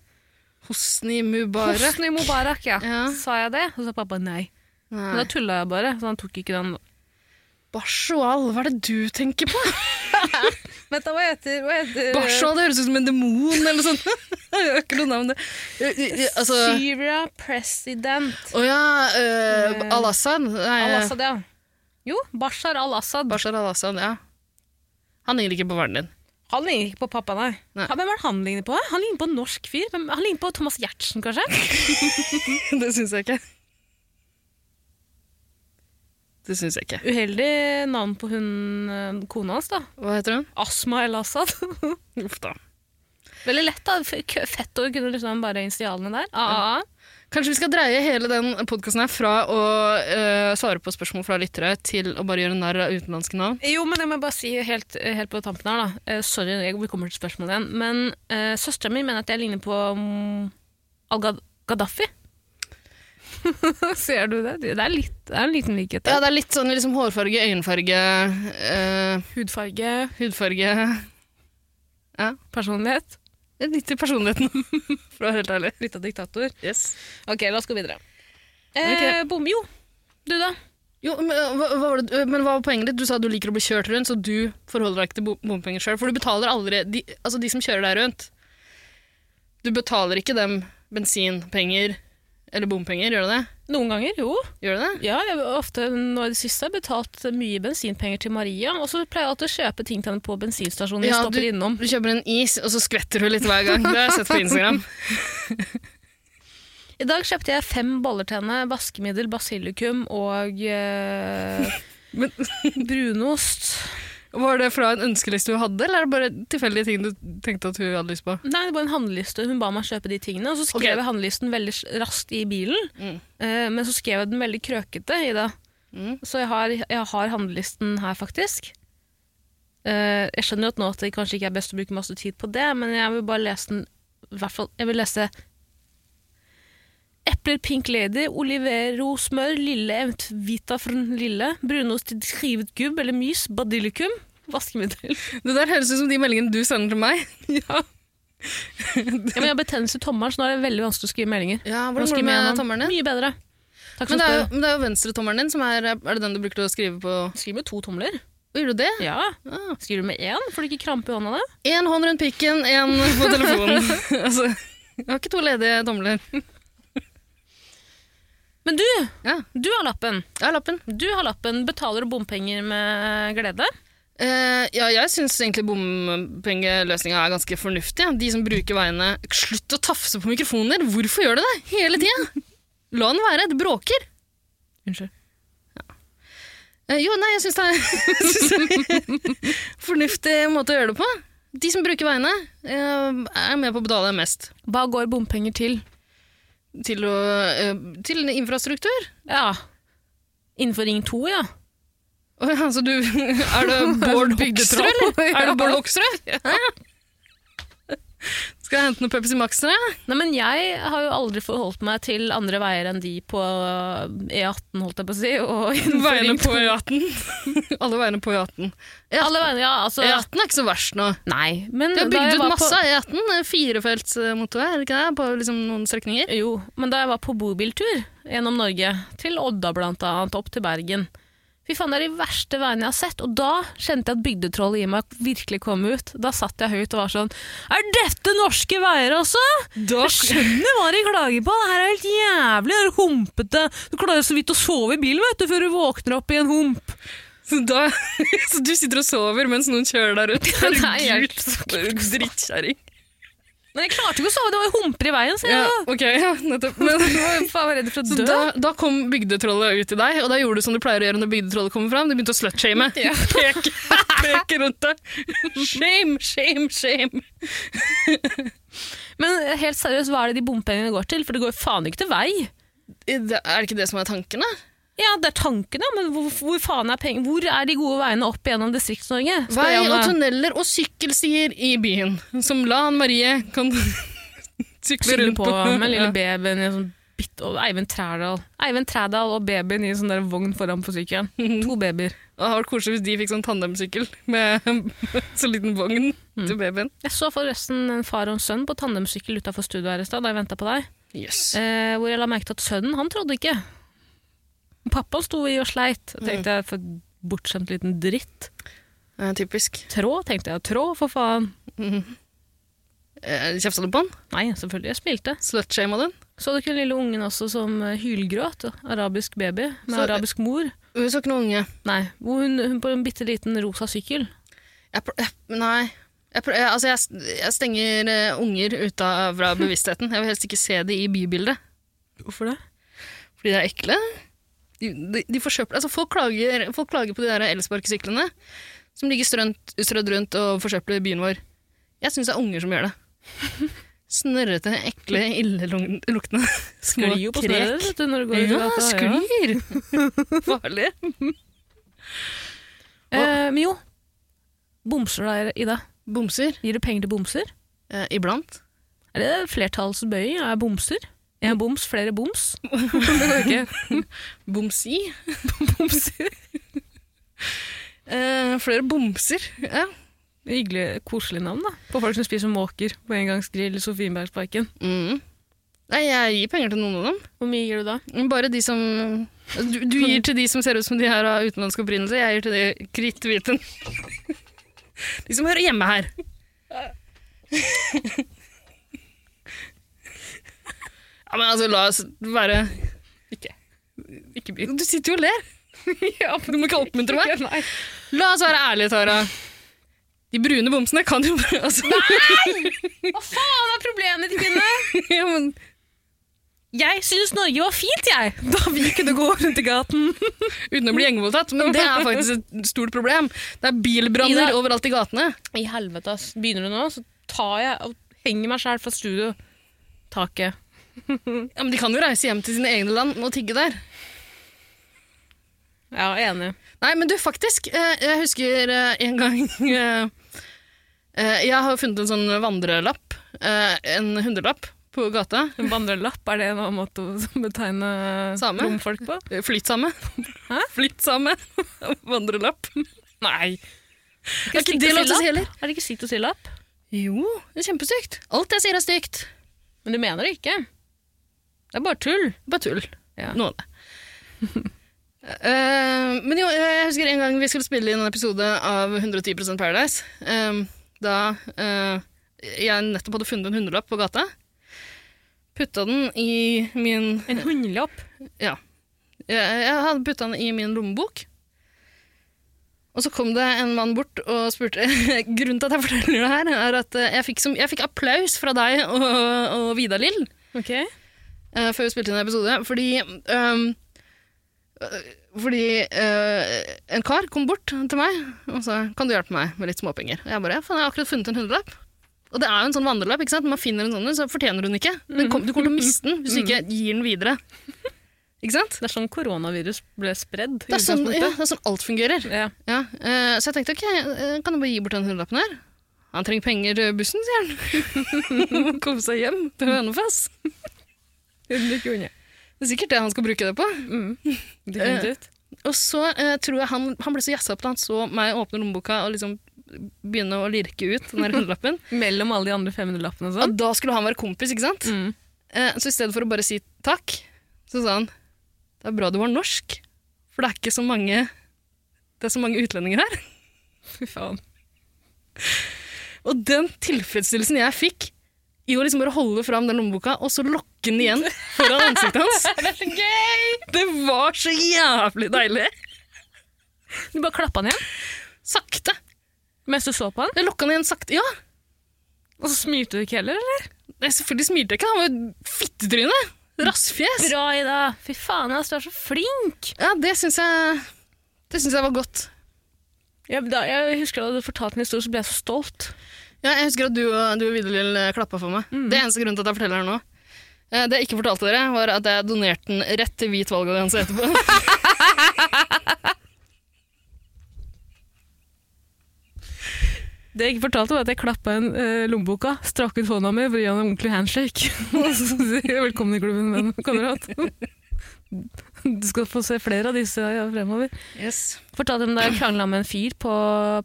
Hosni Mubarak. Hosni Mubarak, ja. Ja. Sa jeg det? Og så sa pappa nei. Men Nei. da tulla jeg bare, så han tok ikke den. Bashoal, hva er det du tenker på? Vent da, hva heter, hva heter Bashoal, det høres ut som en demon eller sånt. Jeg har ikke noe navn. Eh, eh, eh, Altså, Syria president. å ja, eh, Al-Assad. Nei, eh, Al-Assad, ja. Jo, Bashar al-Assad. Bashar al-Assad, ja. Han ligner ikke på faren din. Han ligner ikke på pappa, nei. Nei. Ja, hvem er det han ligner på? Han ligner på en norsk fyr. Hvem- Han ligner på Thomas Giertsen, kanskje? det syns jeg ikke. Det syns jeg ikke. Uheldig navn på hun, eh, kona hans, da. Hva heter hun? Asma el-Assad. Uff da. Veldig lett, da. F- k- Fett å kunne liksom bare initialene der. AAA. Kanskje vi skal dreie hele den podkasten her fra å eh, svare på spørsmål fra lyttere til å bare gjøre narr av utenlandske navn. Jo, men jeg må bare si helt, helt på tampen her, da. Eh, sorry, jeg, vi kommer til spørsmålet igjen. Men uh, søstera mi mener at jeg ligner på mm, al-Gaddafi. Ser du det? Det er, litt, det er en liten likhet Ja, der. det er litt sånn liksom hårfarge, øyenfarge, eh, Hudfarge, hudfarge personlighet. Det er Litt i personligheten, for å være helt ærlig. Litt av diktator. Yes. Ok, la oss gå videre. Ok. Eh, bom, jo. Du, da? Jo, men, eh, hva, hva var det, men hva var poenget ditt? Du sa at du liker å bli kjørt rundt, så du forholder deg ikke til bom- bompenger sjøl. For du betaler aldri de, Altså, de som kjører deg rundt, du betaler ikke dem bensinpenger eller bompenger, gjør du det? Noen ganger, jo. Gjør du det? Ja, jeg har ofte nå i det siste har jeg betalt mye bensinpenger til Maria. Og så pleier jeg alltid å kjøpe ting til henne på bensinstasjonen. vi Ja, stopper innom. Du kjøper en is, og så skvetter hun litt hver gang. Det har jeg sett på Instagram. I dag kjøpte jeg fem boller til henne, vaskemiddel, basilikum og eh, Men brunost. Var det fra en ønskeliste hun hadde, eller er det bare tilfeldige ting du tenkte at hun hadde lyst på? Nei, det var en handleliste. Hun ba meg kjøpe de tingene. Og så skrev Ok. jeg handlelisten veldig s- raskt i bilen. Mm. Eh, men så skrev jeg den veldig krøkete, Ida. Mm. Så jeg har, jeg har handlelisten her, faktisk. Eh, jeg skjønner jo at nå at det kanskje ikke er best å bruke masse tid på det, men jeg vil bare lese den i hvert fall, Jeg vil lese Epler Pink Lady, Olivero smør, lille emt vita fra den lille, brunost til skrivet gubb eller mys, badilikum, vaskemiddel. Det der høres ut som de meldingene du sender til meg. Ja. men jeg har betennelse i tommelen, så nå er det veldig vanskelig å skrive meldinger. Ja, Nå hvordan går det skriver jeg med gjennom. tommeren din? Mye bedre. Takk Men for det er, jo, spørsmålet. men det er jo venstretommeren din som er Er det den du bruker til å skrive på Ah. Skriver med to tomler. Gjør du det? Ja. Skriver du med én? Får du ikke krampe i hånda da? Én hånd rundt pikken, én på telefonen. altså, jeg har ikke to ledige tomler. Men du, Ja, du har lappen. jeg har lappen. Du har lappen. Betaler du bompenger med glede? Eh, ja, jeg syns egentlig bompengeløsninga er ganske fornuftig. ja. De som bruker veiene Slutt å tafse på mikrofonen din! Hvorfor gjør du det hele tida? La den være, det bråker. Unnskyld. Eh, jo, nei, jeg syns det er jeg synes det er en fornuftig måte å gjøre det på. De som bruker veiene, eh, er med på å betale mest. Hva går bompenger til? Til, å, eh, til infrastruktur. Ja. Innenfor Ring 2, ja. Å ja, så du Er det Bård Hoksrud, eller? Bygdetroll, ja. Er det Bård Hoksrud? Ja. Skal jeg hente noe Pepsi Max til deg? Nei, men jeg har jo aldri forholdt meg til andre veier enn de på E18, holdt jeg på å si. Og innenfor Veiene Ring på to. E18. Alle veiene på E18. Alle veiene, ja. Altså, E18 er ikke så verst nå. Nei, men De har da jeg bygd ut var masse av E18. eh, Firefelts eh, motorvei, er det ikke det? På liksom noen strekninger. På, jo, men da jeg var på bobiltur gjennom Norge, til Odda blant annet, opp til Bergen Fy faen, det er de verste veiene jeg har sett. Og da kjente jeg at bygdetrollet i meg virkelig kom ut. Da satt jeg høyt og var sånn Er dette norske veier også?! Da, Jeg skjønner hva de klager på! Det her er helt jævlig! Det er humpete! Du klarer så vidt å sove i bilen vet du, før du våkner opp i en hump! så, da, så du sitter og sover mens noen kjører der ute? Nei, jeg Herregud, er altså. drittkjerring. Men jeg klarte ikke å sove, det var jo humper i veien, ser Ja, jeg. ok, ja, nettopp. Men, Jeg var jo faen redd for å Så dø. da, da kom bygdetrollet ut til deg, og da gjorde du som du pleier å gjøre når bygdetrollet kommer fram. Du begynte å slutshame. Ja. Peke, peke rundt deg. Shame, shame, shame. Men helt seriøst, hva er det de bompengene går til? For det går jo faen ikke til vei. Er det ikke det som er tanken, da? Ja, det er tanken, ja, men hvor, hvor faen er pengene? Hvor er de gode veiene opp gjennom Distrikts-Norge? Spør Vei jeg og meg. tunneler og sykkelstier i byen, som Lan Marie kan sykle Skylder rundt på med lille Ja. babyen i en sånn bitt, og Eivind Trædal. Eivind Trædal og babyen i en sånn der vogn foran på sykkelen. To babyer. Det hadde vært koselig hvis de fikk sånn tandemsykkel med så liten vogn Mm. til babyen. Jeg så forresten en far og en sønn på tandemsykkel utafor studioet her i stad da jeg venta på deg. Yes. Eh, hvor jeg la merke til at sønnen, han trodde ikke. Pappa sto i og sleit. Jeg tenkte jeg, for bortskjemt liten dritt. Eh, typisk. Trå, tenkte jeg. Trå, for faen. Eh, Kjefta du på den? Nei, selvfølgelig, jeg smilte. Slutshama den? Så du ikke den lille ungen også som eh, hylgråt? Arabisk baby med Så- arabisk mor. Hun så ikke noe unge. Nei, hvor hun, hun på en bitte liten rosa sykkel. Jeg, pr- jeg, nei. Jeg, pr- jeg, altså jeg, jeg stenger eh, unger ut av fra bevisstheten. Jeg vil helst ikke se de i bybildet, Hvorfor det? fordi de er ekle. De, de, de forsøpler, altså folk, klager, folk klager på de der elsparkesyklene som ligger strønt, strødd rundt og forsøpler byen vår. Jeg syns det er unger som gjør det. Snørrete, ekle, illeluktende små Sklir jo på krek. snøret vet du, når du går ut i Ja, gata. sklir! Farlig. Ja. Eh, men jo, bomser da, Ida. Bomser. Gir du penger til bomser? Eh, iblant. Er det flertallsbøying? Er jeg bomser? En boms, flere boms? det går ikke. Bomsi. Bomser. Eh, flere bomser. Ja. Hyggelig, koselig navn da. På folk som spiser måker på engangsgrill i Sofienbergsparken. Mm. Nei, jeg gir penger til noen av dem. Hvor mye gir du da? Bare de som du, du gir til de som ser ut som de her har utenlandsk opprinnelse. Jeg gir til de kritthviten. De som hører hjemme her. Ja, men altså, la oss være Ikke Ikke begynn. Du sitter jo og ler. Du må ikke oppmuntre meg. Nei. La oss være ærlige, Tara. De brune bomsene kan jo altså, Hva faen er problemet ditt, kvinne? ja, men, Jeg synes Norge var fint, jeg, da vi kunne gå rundt i gaten. Uten å bli gjengvoldtatt, men det er faktisk et stort problem. Det er bilbranner Ida. overalt i gatene. I helvete, ass. Begynner du nå, så tar jeg og henger meg selv fra studiotaket. Ja, men De kan jo reise hjem til sine egne land og tigge der. Ja, enig. Nei, men du, faktisk. eh, Jeg husker eh, en gang eh, eh, Jeg har funnet en sånn vandrelapp. eh, En hundrelapp på gata. En vandrelapp, er det en annen måte å betegne Same. romfolk på? Eh, Flyttsame. Hæ? Flyttsame. Vandrelapp. Nei. Er ikke det lov til å si heller? Er det ikke stygt å si lapp? Jo, det er kjempestygt. Alt jeg sier, er stygt. Men du mener det ikke. Det er bare tull. Bare tull. Ja. Noe av det. Eh, men jo, jeg husker en gang vi skulle spille inn en episode av 110 Paradise. eh, da eh, jeg nettopp hadde funnet en hundrelapp på gata. Putta den i min En hundelapp. Ja. Jeg, jeg hadde putta den i min lommebok. Og så kom det en mann bort og spurte Grunnen til at jeg forteller det her, er at eh, jeg fikk, som, jeg fikk applaus fra deg og, og Vidar Lill Ok. eh, før vi spilte inn en episode, fordi ehm, eh, fordi eh, en kar kom bort til meg og sa kan du hjelpe meg med litt småpenger. Og jeg bare, faen, jeg har akkurat funnet en hundrelapp. Og det er jo en sånn vandrelapp, ikke sant? Når man finner en sånn, en, så fortjener hun ikke. Men kom, du kommer til å miste den hvis du ikke gir den videre. Ikke sant? Det er sånn koronavirus ble spredd. i Det er sånn, utgangspunktet. ja, det er sånn alt fungerer. ja. Ja, eh, Så jeg tenkte ok, eh, kan du bare gi bort den hundrelappen her? Han trenger penger til bussen, sier han. Komme seg hjem til Hønefoss. Det er sikkert det han skal bruke det på. Mm. Definitivt. Og så eh, tror jeg han, han ble så jazza opp da han så meg åpne lommeboka og liksom begynne å lirke ut den der hundrelappen. Mellom alle de andre 500-lappene og Ja, sånn. da skulle han være kompis, ikke sant? Mm. Eh, Så i stedet for å bare si takk, så sa han det er bra du var norsk, for det er ikke så mange, det er så mange utlendinger her. Fy faen. Og den tilfredsstillelsen jeg fikk i å liksom bare holde fram den lommeboka, og så lokke den igjen foran ansiktet hans, Det er så gøy! det var så jævlig deilig. Du bare klappa han igjen Sakte. mens du så på han, Jeg lokka den igjen sakte. Ja, og så smilte du ikke heller, eller? Nei, selvfølgelig smilte jeg ikke. Han var jo fittetryne. Rassfjes. Bra, Ida! Fy faen, ass, du er så flink! Ja, det syns jeg, det syns jeg var godt. Jeg, da, jeg husker da du fortalte en historie, så ble jeg så stolt. Ja, jeg husker at du og, du og Vidalil klappa for meg. Det er eneste grunnen til at jeg forteller her nå. Eh, Det jeg ikke fortalte dere, var at jeg donerte den rett til hvit valgallianse etterpå. Det jeg ikke fortalte, var at jeg klappa igjen eh, lommeboka, strakk ut hånda mi for å gi han en ordentlig handshake. Og så sier jeg, velkommen i klubben, venn og kamerat. Du skal få se flere av disse ja, fremover. Yes. Fortalte dem da jeg krangla med en fyr på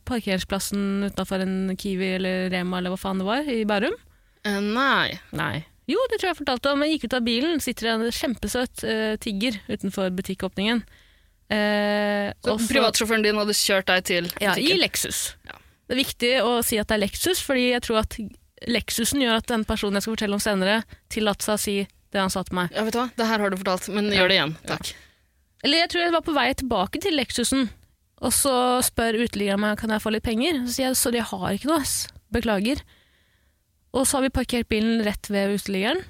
parkeringsplassen utafor en Kiwi eller Rema eller hva faen det var, i Bærum. Eh, nei. Nei. Jo, det tror jeg jeg fortalte om. Jeg gikk ut av bilen, sitter en kjempesøt eh, tigger utenfor butikkåpningen. Eh, Så og så- privatsjåføren din hadde kjørt deg til ja, i butikken. Lexus. Ja. Det er viktig å si at det er Lexus, fordi jeg tror at Lexusen gjør at den personen jeg skal fortelle om senere, tillater seg å si det han sa til meg. Ja, vet du hva? Det her har du fortalt, men gjør det igjen. Takk. Eller jeg tror jeg var på vei tilbake til Lexusen, og så spør uteliggeren meg kan jeg få litt penger. Så sier jeg sorry, jeg har ikke noe, ass. Beklager. Og så har vi parkert bilen rett ved uteliggeren.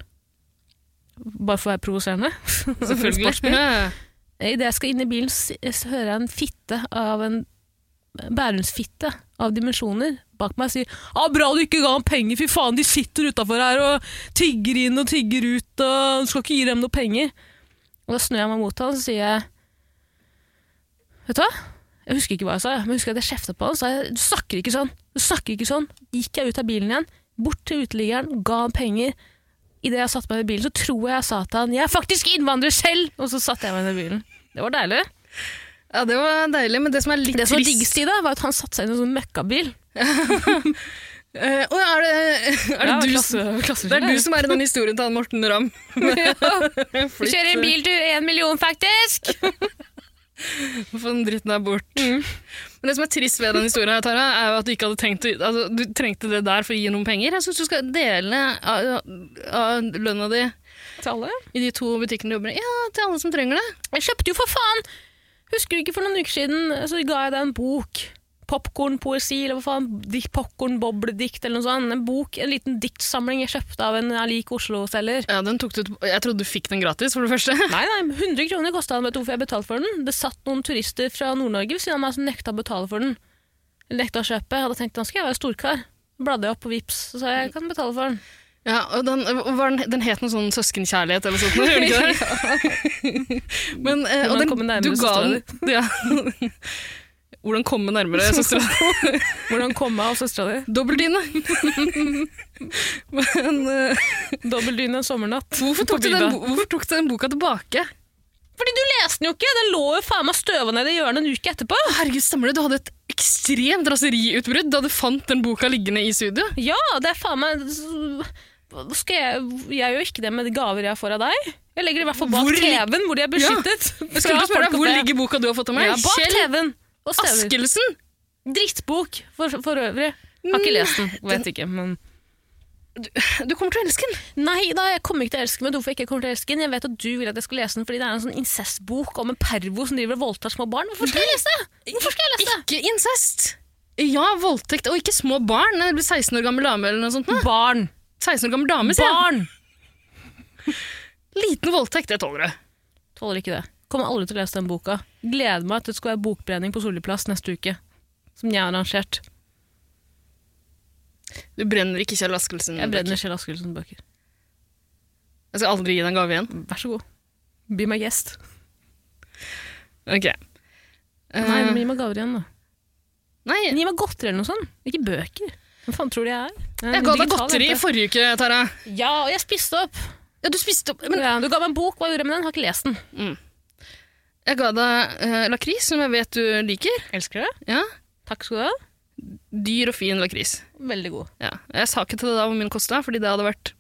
Bare for å være provoserende. Sportsbil. Ja. Eh, Idet jeg skal inn i bilen, så så hører jeg en fitte av en bærumsfitte av dimensjoner bak meg sier ah, 'Bra du ikke ga ham penger, fy faen, de sitter utafor her og tigger inn og tigger ut, og du skal ikke gi dem noe penger'. Og Da snur jeg meg mot han og sier jeg, 'Vet du hva?' Jeg husker ikke hva jeg sa, men jeg husker at jeg kjefta på han og sa jeg, 'Du snakker ikke sånn'. du snakker ikke sånn. Gikk jeg ut av bilen igjen, bort til uteliggeren, ga han penger. Idet jeg satte meg i bilen, så tror jeg jeg sa til han 'Jeg er faktisk innvandrer selv', og så satte jeg meg inn i bilen. Det var deilig. ja, det var deilig, men det som er litt Det som var trist diggest i det, var at han satte seg inn i en sånn møkkabil. Eh, å, er det, er det, Ja, du, klasse- klasseskille. det er du som er i den historien til han Morten Ramm? Vi kjører en biltur, én million faktisk! Få den dritten der bort. Mm. Men det som er trist ved den historien, her, Tara, er jo at du ikke hadde tenkt å, altså, du trengte det der for å gi noen penger. Jeg syns du skal dele av, av lønna di Til alle. i de to butikkene du jobber i. Ja, til alle som trenger det. Jeg kjøpte jo for faen! Husker du ikke for noen uker siden, så ga jeg deg en bok. Popkornpoesi, eller hva faen. Popkornbobledikt, eller noe sånt. En bok, en liten diktsamling jeg kjøpte av en jeg liker Oslo-selger. Ja, den tok du, ut- jeg trodde du fikk den gratis, for det første. Nei, nei, 100 kroner kosta den, vet du hvorfor jeg betalte for den? Det satt noen turister fra Nord-Norge ved siden av meg som nekta å betale for den. Eller Nekta å kjøpe. Jeg hadde tenkt nå skal jeg være storkar. Bladde jeg opp på Vipps, så sa jeg jeg kan betale for den. Ja, og den, var den, den het noe sånn søskenkjærlighet eller sånt, gjør den ikke det? Men, eh, Hvordan og den, komme nærmere du ga søstera den- Ja. Hvordan komme nærmere søstera Hvordan kom jeg og søstera di? Dobbeltdyne. Men eh, Dobbeldyne en sommernatt. hvorfor, tok På du Viva. den, bo- hvorfor tok du den boka tilbake? Fordi du leste den jo ikke! Den lå jo faen meg støva ned i hjørnet en uke etterpå. Herregud, stemmer det? Du hadde et ekstremt raseriutbrudd da du fant den boka liggende i studio. Ja, det er faen meg Hva Skal jeg Jeg gjør ikke det med de gaver jeg får av deg. Jeg legger det i hvert fall bak Hvor lig- TV-en, hvor de er beskyttet. Jeg skulle fra til å spørre folk deg, Hvor at det- ligger boka du har fått av meg? ja, Bak Kjell TV-en og støver. Askelsen! Drittbok for, for øvrig. Har ikke lest den, vet ikke, men Du kommer til å elske den. Nei da, jeg kommer ikke til å elske den. Vet du hvorfor jeg ikke kommer til å elske den? Jeg vet at du vil at jeg skal lese den fordi det er en sånn incestbok om en pervo som driver og voldtar små barn. Hvorfor skal jeg lese det? Hvorfor skal jeg lese det? Ikke incest. Ja, voldtekt. Og ikke små barn. Jeg blir 16 år gammel dame eller noe sånt. nå. Barn! 16 år gammel dame, sier jeg. Barn! Liten voldtekt, det tåler du. Tåler ikke det. Kommer aldri til å lese den boka. Gleder meg til det skal være bokbrenning på Solli plass neste uke. Som jeg har arrangert. Du brenner ikke Kjell Askelsen. Jeg Becky. brenner Kjell Askelsen-bøker. Jeg skal aldri gi deg en gave igjen. Vær så god. Be my guest. Ok. Eh, Nei, men gi meg gaver igjen, da. nei, Gi meg godteri eller noe sånt. Ikke bøker. Hva faen tror du jeg er? Jeg er jeg ga deg digital godteri i jente. forrige uke, Tara. Ja, og jeg spiste opp. Ja, du spiste opp ja, du ga meg en bok, hva gjorde jeg med den? Har ikke lest den. Jeg ga deg eh, lakris, som jeg vet du liker. Elsker det. Ja. Takk skal du ha. Dyr og fin lakris. Veldig god. Ja. Jeg sa ikke til deg da hvor min kosta, fordi det hadde vært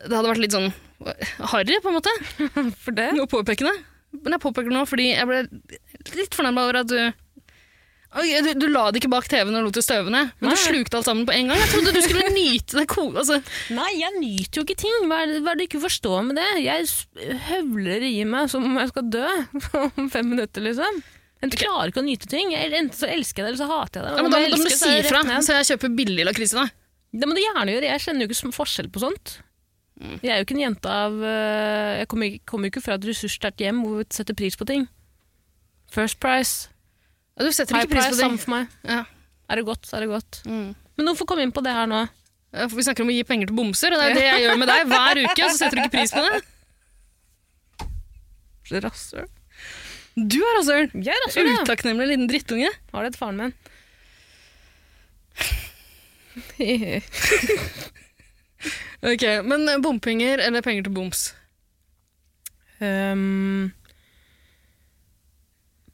Det hadde vært litt sånn harry, på en måte, For det? å påpeke det. Men jeg påpeker det nå fordi jeg ble litt fornærma over at du Oi, du, du la det ikke bak TV-en og lot det støve ned, men Nei. du slukte alt sammen på en gang. Jeg trodde du skulle nyte det ko- Altså, Nei, jeg nyter jo ikke ting. Hva er det, hva er det du ikke forstår med det? Jeg s- høvler i meg som om jeg skal dø om fem minutter, liksom. Jeg klarer ikke å nyte ting. Jeg, enten så elsker jeg det, eller så hater jeg det. ja, men Om da, jeg da må elsker, du så si er det ifra, rett ned. så jeg kjøper billig lakris til deg. Det må du gjerne gjøre. Jeg kjenner jo ikke som forskjell på sånt. Jeg er jo ikke en jente av øh, Jeg kommer ikke, kommer jo ikke fra et ressurssterkt hjem hvor vi setter pris på ting. First price. Ja, du setter High ikke pris price, på ting. samme for meg. Ja. Er det godt, så er det godt. Mm. Men hvorfor komme inn på det her nå? Ja, Eh, for Vi snakker om å gi penger til bomser, og det er jo det jeg gjør med deg hver uke. og så setter du ikke pris på det. Rasshøl. Du er rasshøl. Jeg er rasshøl, ja. Utakknemlig liten drittunge. Har det til faren min. Ok, Men eh, bompenger eller penger til boms? Ehm,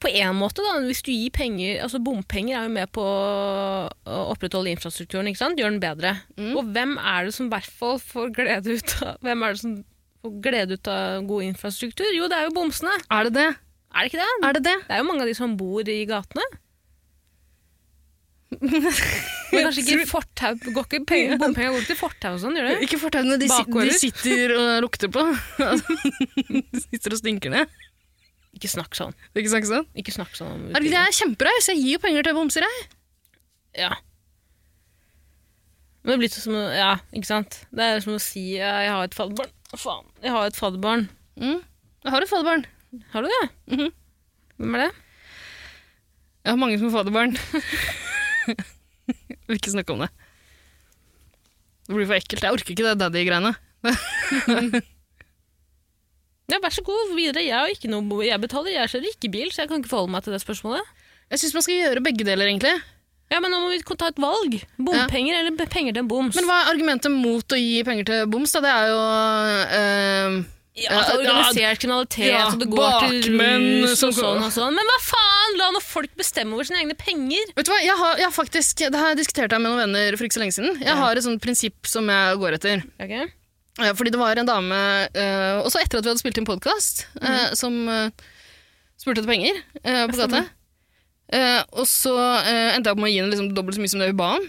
på en måte, da. Hvis du gir penger altså Bompenger er jo med på å opprettholde infrastrukturen. ikke sant? Gjør den bedre. Og hvem er det som i hvert fall får glede ut av Hvem er det som får glede ut av god infrastruktur? Jo, det er jo bomsene. Er det det? Er det ikke det? Er det det? Det er jo mange av de som bor i gatene. Men kanskje ikke fortau Går ikke penger, bompenger går ikke til fortau og sånn, gjør det? Ikke fortauene de, si- Bakgårder? de sitter og lukter på. de sitter og stinker ned. Ikke snakk sånn. Det er ikke sant, ikke sant? Ikke snakk sånn om Er det, ikke det? jeg er kjempereis, jeg gir jo penger til bomser, jeg. Ja. Men det blir litt som å, ja, ikke sant? Det er som å si ja, jeg har et fadderbarn. Å, Faen, jeg har et fadderbarn. Mm. Jeg har et faderbarn. Har du det? Mhm. Hvem er det? Jeg har mange som er faderbarn. Vil ikke snakke om det. Det blir for ekkelt. Jeg orker ikke det daddy-greiene. Ja, vær så god, videre. Jeg, har ikke noe, bo- jeg betaler, jeg kjører ikke bil, så jeg kan ikke forholde meg til det spørsmålet. Jeg syns man skal gjøre begge deler, egentlig. Ja, men nå må vi ta et valg. Bompenger eller be- penger til en boms. Men hva er argumentet mot å gi penger til boms? da? Det er jo eh, ja, altså, Ja, ja, organisert kriminalitet, ja, og det går til bakmenn rus som og går- sånn og sånn. Men hva faen? La nå folk bestemme over sine egne penger. Vet du hva, jeg har, jeg har faktisk, Det har jeg diskutert her med noen venner for ikke så lenge siden. Jeg har et sånt prinsipp som jeg går etter. Ok. Eh, Fordi det var en dame, eh, også etter at vi hadde spilt inn podkast, som eh, spurte etter penger eh, på gata. Eh, og så eh, endte jeg opp med å gi henne liksom dobbelt så mye som det hun ba om.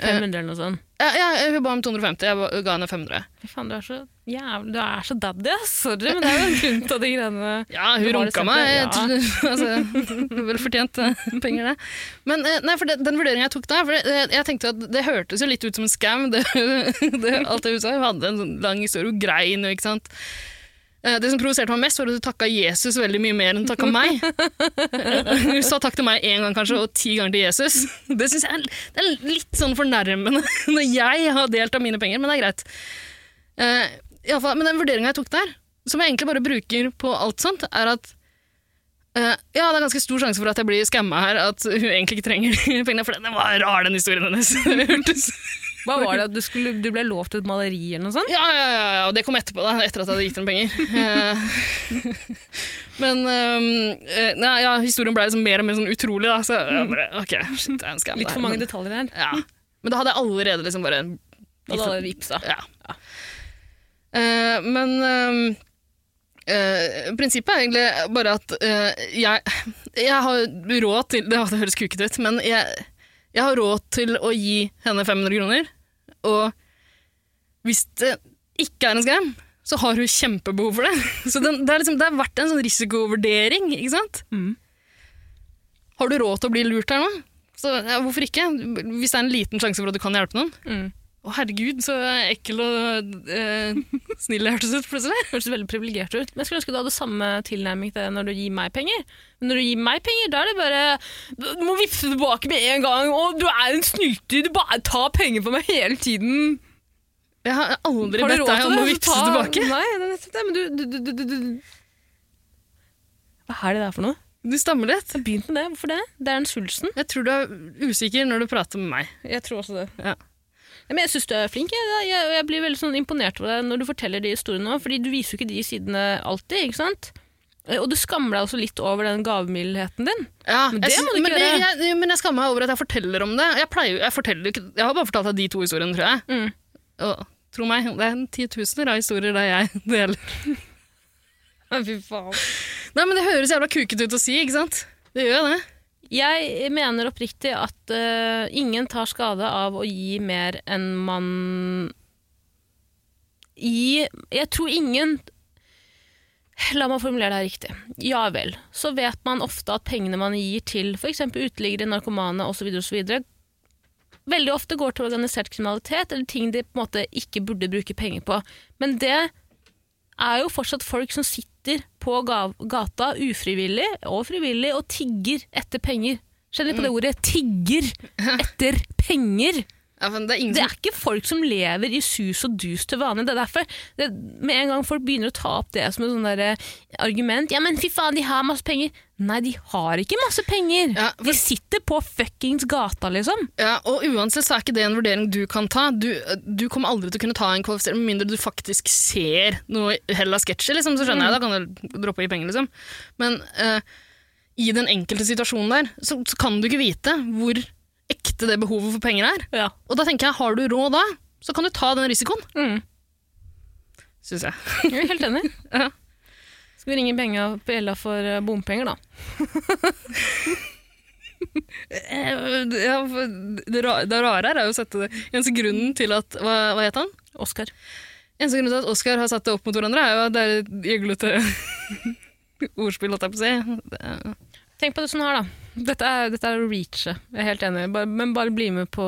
500 eller noe sånt. Ja, ja, hun ba om 250, jeg ba- ga henne 500. Fy faen, du er så jævlig Du er så daddy, ass. Sorry, men det er jo en grunn til at de greiene Ja, hun Det var runka det meg. stemte, altså, vel fortjent eh, penger, det. Men eh, nei, for det, den vurderingen jeg tok der, for det, det- jeg tenkte at det hørtes jo litt ut som en scam, det, det, alt det hun sa. Hun hadde en sånn lang historie, hun grein jo, ikke sant. Eh, Det som provoserte meg mest, var at hun takka Jesus veldig mye mer enn hun takka meg. Eh, Hun sa takk til meg én gang kanskje, og ti ganger til Jesus. Det synes jeg er, det er litt sånn fornærmende når jeg har delt av mine penger, men det er greit. Eh, i alle fall, men den vurderinga jeg tok der, som jeg egentlig bare bruker på alt sånt, er at eh, ja, det er ganske stor sjanse for at jeg blir skamma her, at hun egentlig ikke trenger de pengene. For den var rar, den historien hennes. Det hørtes- Hva var det at du, skulle, du ble lovt et maleri eller noe sånt? ja, ja, ja, ja, og det kom etterpå, da, etter at jeg hadde gitt henne penger. Eh, men ehm, eh, nei, ja, historien ble liksom mer og mer sånn utrolig, da. Så jeg bare, ok, shit, det er en skam. Litt det for her, mange men- detaljer her. Ja. Men da hadde jeg allerede liksom bare Og da hadde vi vipsa. Ja. Eh, men ehm, eh, prinsippet er egentlig bare at eh, jeg, jeg har råd til Det, det høres kukete ut, men jeg, jeg har råd til å gi henne 500 kroner. Og hvis det ikke er en skam, så har hun kjempebehov for det. Så den, det, er liksom, det har vært en sånn risikovurdering, ikke sant? Mm. Har du råd til å bli lurt her nå? Så ja, hvorfor ikke? Hvis det er en liten sjanse for at du kan hjelpe noen. Mm. Å, herregud, så ekkel og eh, snill jeg hørtes ut plutselig. Hørtes veldig privilegert ut. Men jeg skulle ønske du hadde samme tilnærming til det når du gir meg penger. Men når du gir meg penger, da er det bare Du må vippse tilbake med en gang. Og du er en snyter. Du bare tar penger på meg hele tiden. Jeg har aldri Har du bedt råd deg til om det? å Så vippse ta- tilbake. Nei, det er nettopp det, men du, du, du, du, du, du. Hva er det der for noe? Du stammer litt. Jeg har begynt med det. Hvorfor det? Det er den svulsten. Jeg tror du er usikker når du prater med meg. Jeg tror også det. Ja. Ja, men jeg syns du er flink. Jeg, jeg, og jeg blir veldig sånn imponert over deg når du forteller de historiene òg, fordi du viser jo ikke de sidene alltid. ikke sant? Eh, Og du skammer deg også litt over den gavmildheten din. Ja, Men det jeg må du sy- ikke men det, gjøre. Jeg, men jeg skammer meg over at jeg forteller om det. Jeg, pleier, jo- jeg, forteller, jo ikke- jeg har bare fortalt deg de to historiene, tror jeg. Mm. Og, tro meg, det er titusener av historier der jeg deler. Fy faen. Nei, men det høres jævla kuket ut å si, ikke sant? Det gjør jo det. Jeg mener oppriktig at eh, ingen tar skade av å gi mer enn man gi Jeg tror ingen La meg formulere det her riktig. Ja vel. Så vet man ofte at pengene man gir til f.eks. uteliggere, narkomane osv., osv., veldig ofte går til organisert kriminalitet eller ting de på en måte ikke burde bruke penger på. Men det er jo fortsatt folk som sitter på ga- gata ufrivillig og frivillig og tigger etter penger. Kjenner Mm. litt på det ordet. Tigger etter penger. Ja, men det er ingen Det som... er ikke folk som lever i sus og dus til vanlig. Det er derfor det, med en gang folk begynner å ta opp det som et sånn der, eh, argument Ja, men fy faen, de har masse penger. Nei, de har ikke masse penger. Ja, for- De sitter på fuckings gata, liksom. Ja, og uansett så er ikke det en vurdering du kan ta. Du, du kommer aldri til å kunne ta en kvalifisering, med mindre du faktisk ser noe hell av sketsjer, liksom, så skjønner jeg, da kan du droppe i penger, liksom. Men eh, i den enkelte situasjonen der, så, så kan du ikke vite hvor ekte det behovet for penger er. Ja. Og da tenker jeg, har du råd da, så kan du ta den risikoen, Mm. synes jeg. Jeg er helt enig. Ja. Skal vi ringe Benga på Ella for eh, bompenger, da? Eh, Ja, for det, ra- det rare her er jo å sette det. Eneste grunnen til at, hva, hva heter han? Oskar. Eneste grunnen til at Oscar har satt det opp mot hverandre, er jo at det er et gjøglete ordspill, holdt jeg på å si. Det er- Tenk på det sånn her, da. Dette er, dette er å reache. Jeg er helt enig. Bare, men bare bli med på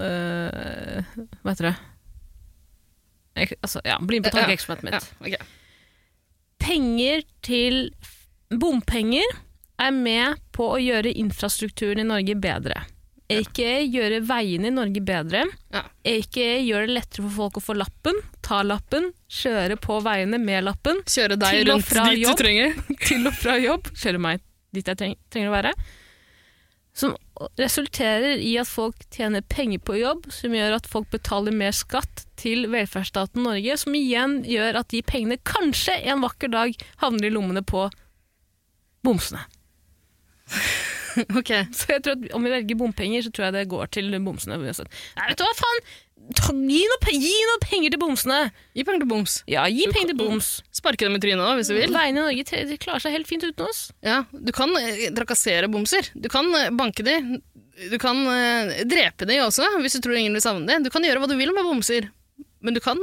eh, Hva heter det? Jeg, altså, ja, bli med på Ja, tankeeksperimentet mitt. Ja, ok. Penger til f- Bompenger er med på å gjøre infrastrukturen i Norge bedre. Ikke gjøre veiene i Norge bedre. Ja. Ikke gjøre det lettere for folk å få lappen, ta lappen, kjøre på veiene med lappen. Kjøre deg Til og rundt fra dit jobb. du trenger. til og fra jobb, kjører meg dit jeg treng, trenger å være, som resulterer i at folk tjener penger på jobb, som gjør at folk betaler mer skatt til velferdsstaten Norge, som igjen gjør at de pengene kanskje en vakker dag havner i lommene på bomsene. Ok. Så jeg tror at om vi velger bompenger, så tror jeg det går til bomsene. uansett. Nei, vet du hva faen? Ta, gi, noe, pe- gi noe penger til bomsene! Gi penger til boms. Ja, gi penger til boms. Sparke dem i trynet også, hvis du vil. Veiene i Norge tre- de klarer seg helt fint uten oss. Ja, du kan eh, trakassere bomser. Du kan eh, banke dem. Du kan eh, drepe dem også, hvis du tror ingen vil savne dem. Du kan gjøre hva du vil med bomser. Men du kan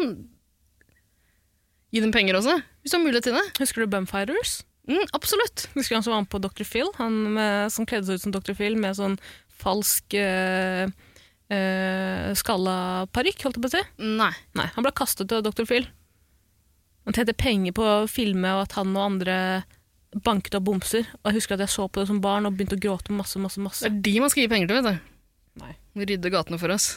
gi dem penger også, hvis du har mulighet til det. Husker du Bumfighters? Mm, absolutt. Husker du han som var med på Dr. Phil? Han med, som kledde seg ut som Dr. Phil med sånn falsk uh, skalla parykk, holdt jeg på å si. Nei. Nei, han ble kastet av Dr. Phil. Han tjente penger på å filme og at han og andre banket opp bomser. Og jeg husker at jeg så på det som barn og begynte å gråte masse, masse, Det masse. er de man skal gi penger til, vet du. Nei. Rydde gatene for oss.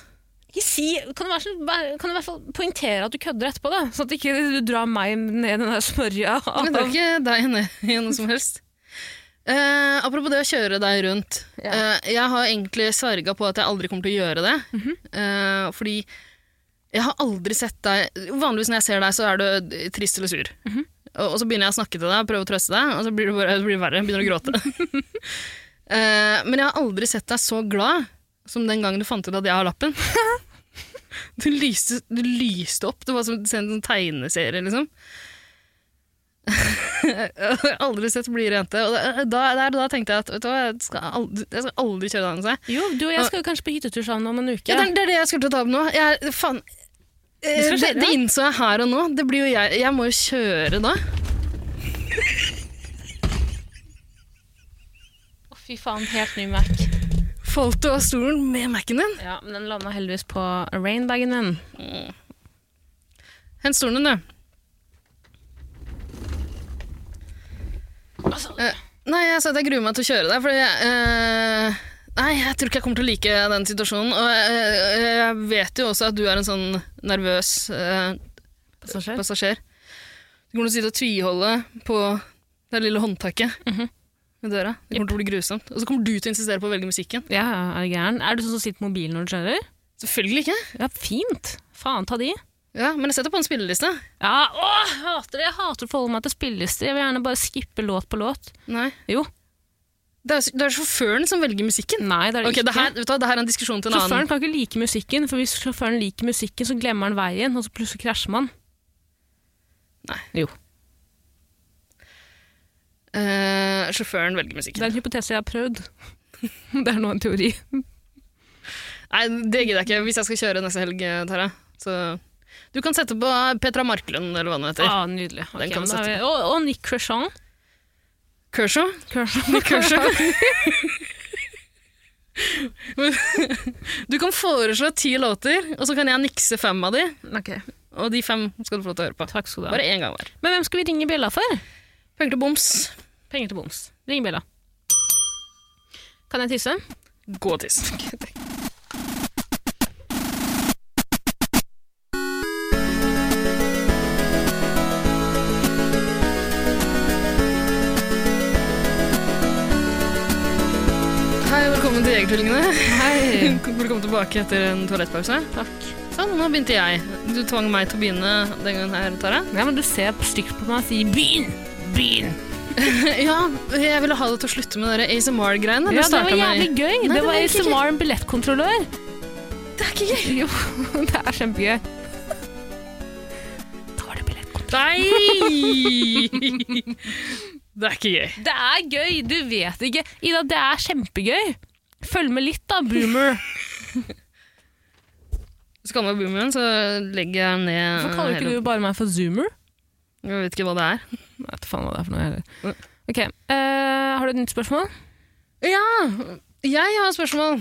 Ikke si, kan du, være så, bare- kan du i hvert fall poengtere at du kødder etterpå, da? Sånn at ikke du drar meg ned i den der smørja. av- Men det er ikke deg ned i noe som helst. Eh, apropos det å kjøre deg rundt. Ja. Eh, jeg har egentlig sverga på at jeg aldri kommer til å gjøre det. Eh, fordi jeg har aldri sett deg Vanligvis når jeg ser deg, så er du trist eller sur. og, og så begynner jeg å snakke til deg, prøve å trøste deg, og så blir det bare det blir verre. Begynner å gråte. Eh, men jeg har aldri sett deg så glad som den gangen du fant ut at jeg har lappen. du, lyste, du lyste opp. Det var som å se en sånn tegneserie, liksom. Jeg har aldri sett blidere jente. Og da, der, da tenkte jeg at vet du hva, jeg skal aldri, jeg skal aldri kjøre den seg. Jo, du og jeg skal jo kanskje på hyttetur sammen om en uke. Ja, det, er- det er det jeg skulle til å ta opp nå. Jeg, faen, Eh, skal det, skje det innså jeg her og nå. Det blir jo jeg, jeg må jo kjøre da. Å, Fy faen, helt ny Mac. Falt du av stolen med Mac-en din? Ja, men den landa heldigvis på rainbagen min. Hent stolen din, du. Altså, Eh, nei, jeg sa at jeg gruer meg til å kjøre deg, fordi jeg eh, Nei, jeg tror ikke jeg kommer til å like den situasjonen. Og jeg, jeg vet jo også at du er en sånn nervøs eh, Passasjer. passasjer. Du kommer til å sitte og tviholde på det lille håndtaket Mhm. ved døra. Det kommer til å bli grusomt. Og så kommer du til å insistere på å velge musikken. Ja, er du gæren? Er du sånn som sitter på mobilen når du kjører? Selvfølgelig ikke. Ja, fint! Faen ta de. Ja, Men jeg setter på en spilleliste. Ja, åh, jeg hater det! Jeg hater å forholde meg til spillelister. Jeg vil gjerne bare skippe låt på låt. Nei. Jo. Det er, det er sjåføren som velger musikken. Nei, det er det Ok, det ikke. her, vet du hva, det her er en diskusjon til en Sjåføren annen. kan ikke like musikken, for hvis sjåføren liker musikken, så glemmer han veien, og så plutselig krasjer man. Nei. Jo. Eh, sjåføren Det velger er musikken. en hypotese jeg har prøvd. Det er nå en teori. Nei, det gidder jeg ikke hvis jeg skal kjøre neste helg, eh, Tara. Så du kan sette på Petra Marklund, eller hva hun heter. Ah, nydelig. Ok, Den kan vi men da har sette vi- Og, og Nick Cresson. Kershaw. Cresson. Du kan foreslå ti låter, og så kan jeg nikse fem av de. Ok, Og de fem skal du få lov til å høre på. takk skal du ha. Bare én gang hver. Men hvem skal vi ringe bjella for? Penger til boms. Penger til boms. Ring bjella. Kan jeg tisse? Gå og tiss. Hei, velkommen til Jegertvillingene. Hei. Velkommen tilbake etter en toalettpause. Takk. Sånn, nå begynte jeg. Du tvang meg til å begynne den gangen her, Tara. Ja, men du ser stygt på meg og sier 'begynn', begynn. Ja, jeg ville ha deg til å slutte med de ASMR-greiene. Ja, det var jævlig gøy. Nei, det var ikke gøy. ASMR en billettkontrollør. Det er ikke gøy. Jo, det er kjempegøy. Da var det billettkontrollør. Nei! Det er ikke gøy. Det er gøy, du vet ikke. Ida, det er kjempegøy. Følg med litt da, boomer. Skal man være boomeren, så legger jeg ned Hvorfor kaller ikke du bare meg for zoomer? Jeg vet ikke hva det er. Jeg vet faen hva det er for noe heller. Mm. Ok, eh, har du et nytt spørsmål? Ja, jeg har et spørsmål.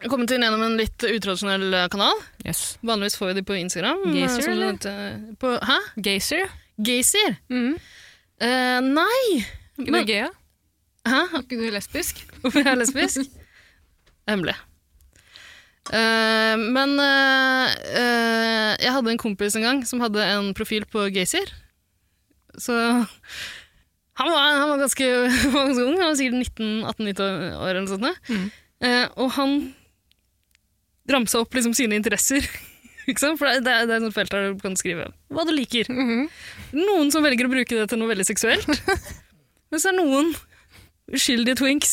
Jeg kom til gjennom en litt utradisjonell eh, kanal. Yes. Vanligvis får vi de på Instagram. Gaysir, eh, som eller? det heter. På, hæ? Gazer? Gaysir? Mm. Eh, nei! Ikke Men- du gøy, ja? Hæ? Ikke du lesbisk? Hvorfor jeg er lesbisk? Hemmelig. Eh, men eh, eh, jeg hadde en kompis en gang som hadde en profil på Gaysir. Så han var, han var, ganske, han var ganske ung, han var sikkert 19-18-19 år eller noe sånt. da. Mhm. Eh, og han ramsa opp liksom sine interesser. Ikke sant? For det, er- det, er- det er et sånt felt der du kan skrive hva du liker. Noen som velger å bruke det til noe veldig seksuelt. Mens det er noen uskyldige twinks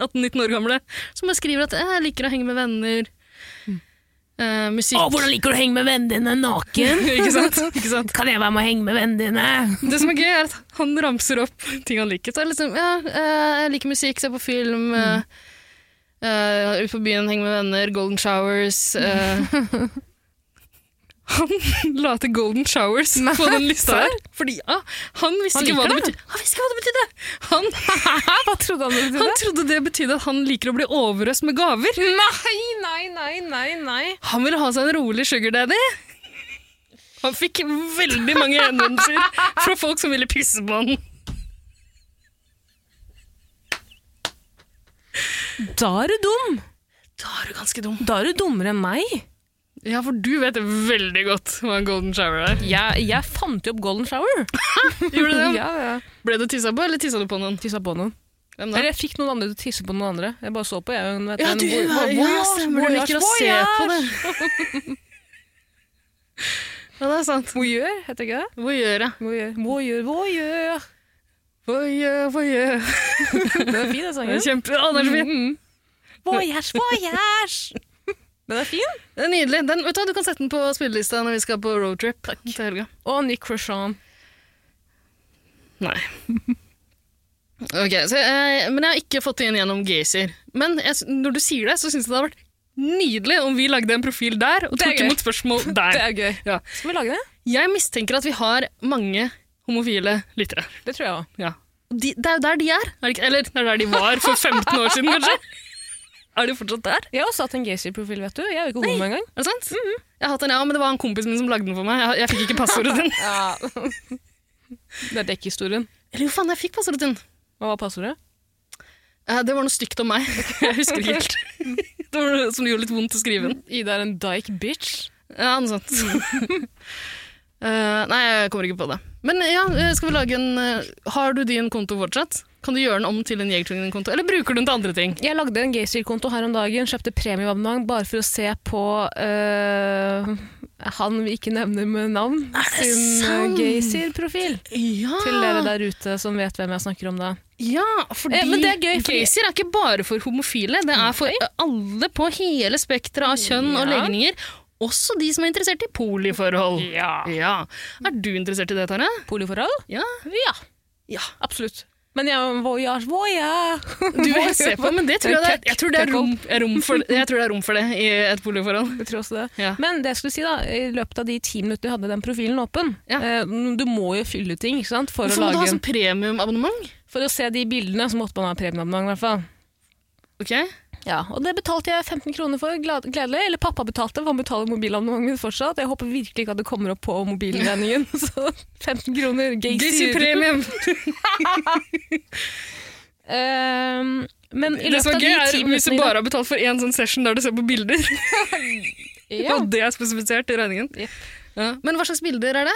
18-19 år gamle, som bare skriver at «Eh, jeg liker å henge med venner. eh, musikk. liker du å henge med vennene dine naken? ikke, sant? ikke sant? Kan jeg være med å henge med vennene dine? Det som er gøy, er at han ramser opp ting han liker. Så er det liksom, ja, eh, jeg liker musikk, ser på film, eh, eh, ut på byen, henge med venner, Golden Showers. eh. han la til Golden Showers Nei, på den lista serr? her, fordi ja, han visste Han ikke hva liker det det. betydde. Han visste ikke hva det betydde! Han Hæ? Hva trodde han du Han trodde det betydde at han liker å bli overøst med gaver. Nei, nei, nei, nei, nei. Han ville ha seg en rolig sugar daddy. Han fikk veldig mange henvendelser fra folk som ville pisse på han. Da er du dum. Da er du ganske dum. Da er du dummere enn meg. Ja, for du vet veldig godt hva en golden shower er. Jeg, jeg fant jo opp golden shower. Gjorde du det? ja, ja. Ble du tissa på, eller tissa du på noen? Tissa på noen. Hvem da? Eller jeg fikk noen andre til å tisse på noen andre. Jeg bare så på, jeg. Hun vet, Ja, en du, voy- ja, voyage, stemmer, du voyage, liker å se på det. voyage. Ja, det er sant. Voyeur, heter ikke det? Hva gjør jeg? Voyeur, voyeur, voyeur. Hva gjør, hva gjør? Mm-hmm. Den er fin, den Det er sangen. Kjempe... Å, den er så fin. Mm. Voyage, voyage. Den er fin. Det er nydelig. Den, vet du hva, du kan sette den på spillelista når vi skal på roadtrip til helga. Og Nick Roshan. Nei. Ok, så, eh, Men jeg har ikke fått det inn gjennom Gaysir. Men jeg, sy- når du sier det, så syns jeg det hadde vært nydelig om vi lagde en profil der og Det er tok gøy. imot spørsmål der. er gøy. Ja. Skal vi lage det? Jeg mistenker at vi har mange homofile lyttere. Det tror jeg òg. Ja. Og De, det er jo der de er. er det ikke? Eller det er der de var for 15 år siden, kanskje. Er de fortsatt der? Mhm. Jeg har også hatt en Gacy-profil, vet du. Jeg er jo ikke homo engang. Er det sant? Jeg har hatt en, ja, men Det var han kompisen min som lagde den for meg. Jeg, jeg fikk ikke passordet din. Ja. det er dekkhistorien. Eller jo faen, jeg fikk passordet din. Hva var passordet? Eh, Det var noe stygt om meg. Jeg husker ikke helt. Det var noe som gjorde litt vondt å skrive den. Ida er en dyke bitch. Ja, noe sånt. Eh, nei, jeg kommer ikke på det. Men ja, eh, skal vi lage en eh, Har du din konto fortsatt? Kan du gjøre den om til en Jegertvingen-konto, eller bruker du den til andre ting? Jeg lagde en Gaysir-konto her om dagen, kjøpte premieabonnement bare for å se på øh, han vi ikke nevner med navn, det sin øh, sant? Gaysir-profil. Ja, Til dere der ute som vet hvem jeg snakker om da. ja fordi Eh, men det er gøy, fordi- Gaysir er ikke bare for homofile. Det er for eh, alle på hele spekteret av kjønn og Ja. legninger. Også de som er interessert i poliforhold. Ja. ja. Er du interessert i det, Tare? Poliforhold? Ja. Ja, ja. absolutt. Men jeg er en voyage, voyage! Du vil se på, men det tror jeg, det er, jeg tror det er rom, er rom for, jeg tror det er rom for det i et boligforhold. Jeg tror også det. Ja. Men det jeg skulle si da, i løpet av de ti minutter jeg hadde den profilen åpen Ja. eh, Du må jo fylle ut ting ikke sant? For, å Hvorfor må lage, du ha en- sånn premiumabonnement? for å se de bildene, så måtte man ha premieabonnement. i hvert fall. Ok. Ja, og det betalte jeg 15 kroner for, glad- gledelig. Eller pappa betalte, for han betaler mobilabonnementet mitt fortsatt. Jeg håper virkelig ikke at det kommer opp på mobilregningen. Så 15 kroner, Gacy gaysir. Premium! Um, men i Det løpet som av er gøy, de er ti hvis du minuttene bare har betalt for én sånn session der du ser på bilder, ja, og det er spesifisert i regningen. Jepp. Ja. Men hva slags bilder er det?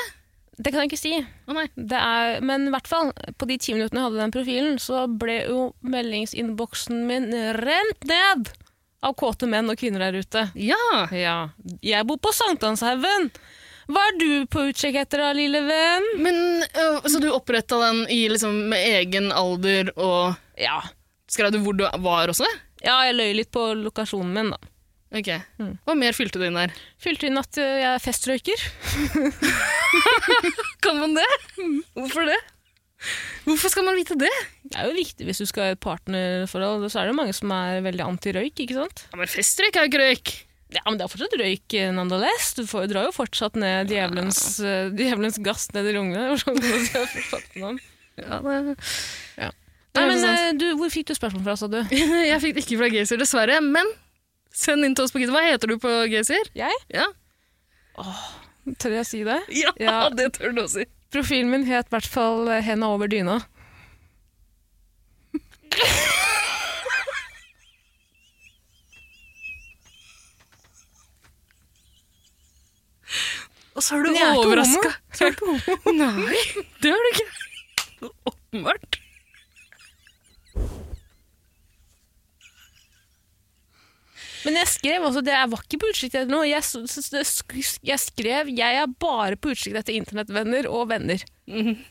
Det kan jeg ikke si. Å nei. Det er, men i hvert fall, på de ti minuttene jeg hadde den profilen, så ble jo meldingsinnboksen min rent ned av kåte menn og kvinner der ute. Ja! Ja, jeg bor på Sankthanshaugen. Hva er du på utkikk etter da, lille venn? Men, øh, så du oppretta den i, liksom, med egen alder, og Ja, skrev du hvor du var også? ja jeg løy litt på lokasjonen min da. Ok. Hva mer fylte du inn der? Fylte inn at eh, jeg er festrøyker. Kan man det? Hvorfor det? Mm. Hvorfor skal man vite det? Det er jo viktig hvis du skal ha et partnerforhold, så er det jo mange som er veldig anti-røyk, ikke sant? Ja, men festrøyk er jo ikke røyk. Ja, men det er fortsatt røyk eh, nonetheless. Du får, drar jo fortsatt ned djevelens, eh, djevelens gass ned i lungene. eller sånn som jeg har fått den om. Ja, det... Ja. Det Nei, er men sant. eh, du, Hvor fikk du spørsmål fra, sa du? Jeg fikk det ikke fra Gaysir, dessverre. Men send inn til oss på Gitter. Hva heter du på Gaysir? Jeg? Ja. Tør jeg si det? Ja, Ja. det tør du å si. Profilen min het i hvert fall eh, 'Henda over dyna'. Og så er Men jeg er ikke overraska. homo. Så er det ikke homo. Nei, det er du ikke. Åpenbart. Men jeg skrev også det. Jeg var ikke på utkikk etter noe. Jeg, s- s- s- sk- jeg skrev 'Jeg er bare på utkikk etter internettvenner og venner'. Men-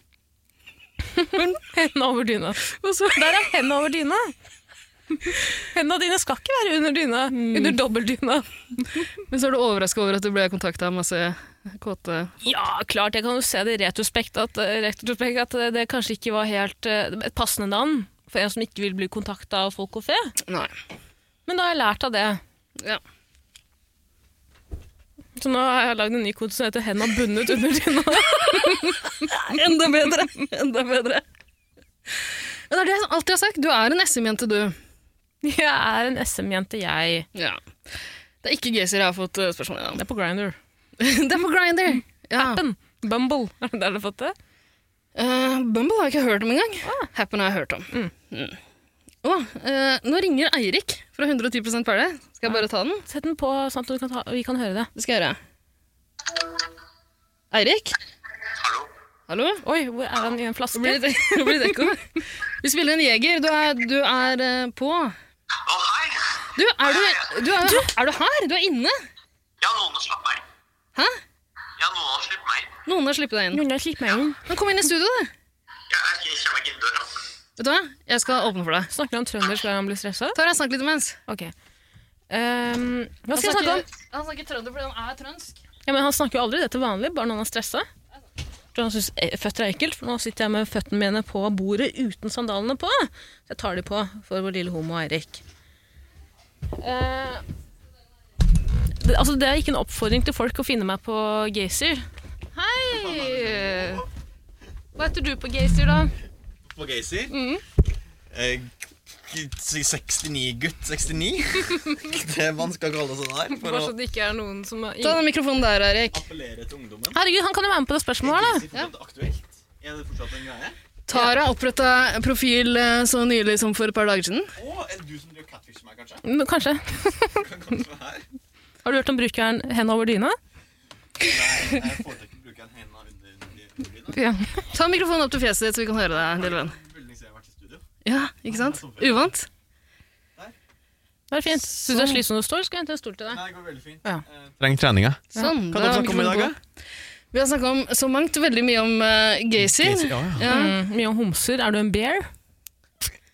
Henda over dyna. Og så Der er henda over dyna. Henda dine skal ikke være under dyna. Under dobbeltdyna. Men så er du overraska over at du ble kontakta av masse kåte Ja, klart. Jeg kan jo se det i retrospekt at, eh, retrospekt at det, det kanskje ikke var helt eh, et passende navn for en som ikke vil bli kontakta av folk og fe. Nei. Men da har jeg lært av det. Ja. Så nå har jeg lagd en ny kode som heter 'Henda bundet under dyna'. Enda bedre. Enda bedre. Ja, Det er det jeg alltid har sagt. Du er en SM-jente, du. Jeg er en SM-jente, jeg. Ja. Det er ikke Gaysir jeg har fått eh, spørsmål Det om. er på Grinder. Det er på Grinder. Ja. Appen. Bumble. Er det der du har fått det? Eh, Bumble har jeg ikke hørt om engang. Ah. Happen har jeg hørt om. Mm. Å, eh, nå ringer Eirik fra 110 Perle. Skal jeg bare ta den? Sett den på sånn at du kan ta, vi kan høre det. Det skal jeg gjøre. Eirik? Hallo? Hallo? Oi, hvor er han i en flaske? Det blir litt- det blir litt ekko. Vi spiller en jeger. Du er, du er eh, på. Å, hei! Du, er du, du, er, er du her? Du er inne? Ja, noen har sluppet meg. Hæ? Ja, noen har sluppet meg. Noen har sluppet deg inn. Noen har slitt meg inn. Men kom inn i studio, da. Ja, jeg skal- jeg kommer meg inn døra. Vet du hva? Jeg skal åpne for deg. Snakker han trøndersk hver gang han blir stressa? Tara, snakk litt imens. Ok. Ehm, hva skal jeg snakke om? Han snakker trønder fordi han er trønsk. Ja, men Han snakker jo aldri det til vanlig, bare når han er stressa. Tror Han syns eh, føtter er ekkelt, for nå sitter jeg med føttene mine på bordet uten sandalene på. Så jeg tar de på for vår lille homo Eirik. Eh, det, altså, det er ikke en oppfordring til folk å finne meg på Gaysir. Hei! Hva heter du på Gaysir, da? på Gaysir. Mm. Eh, k- 69-gutt 69. Det man skal kalle seg der for Bare å så det ikke er noen som er Ta den mikrofonen der, Erik. appellere til ungdommen. Herregud, han kan jo være med på det spørsmålet her, da! Gaysir fortsatt aktuelt? Er det fortsatt en greie? Tara oppretta profil eh, så nylig som for et par dager siden. Å, er det du som driver catfish meg, kanskje? Men Kanskje. Kan kanskje være her? Har du hørt om brukeren Hen over dyna? Nei, jeg foretrekker å bruke en henda under underlyden. Ja. Ta mikrofonen opp til fjeset ditt, så vi kan høre deg, lille venn. Veldig lenge siden jeg har vært i studio. Ja, ikke sant? Uvant? Det er fint. Syns du det er slitsomt å stå, eller skal jeg hente en stol til deg? Nei, det går veldig fint. Ja. Eh, Trenger treninga. Sånn. Hva er det da vi er snakker om i dag, mikrofonen på. Vi har snakka om så mangt, veldig mye om eh, Gacy. Gacy, ja, ja. Ja. Mm, mye om homser. Er du en bear?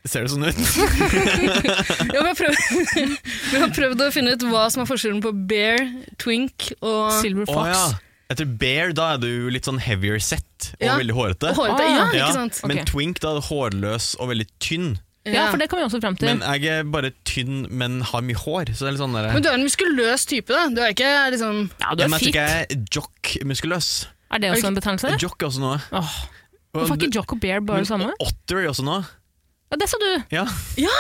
Ser det sånn ut? Ja, vi, har prøvd, vi har prøvd å finne ut hva som er forskjellen på bear, twink og Silver Å fox. ja. Etter bear, da er du litt sånn heavier set og Ja. veldig hårete. og hårete. Ja, Ah, ikke Ja, sant? Men Ok. twink, da er du hårløs og veldig tynn. Ja, for det kommer vi også frem til. Men jeg er bare tynn, men har mye hår. Så det er litt sånn der, Men du er en muskuløs type, da. Du er ikke liksom Ja, du er Ja, men jeg tror fit. ikke jeg er jock-muskuløs. Er det også en betegnelse? Jock er også noe. Åh, Hvorfor er ikke jock og bear bare det samme? Og otter er også noe. Ja, det sa du! Ja, ja,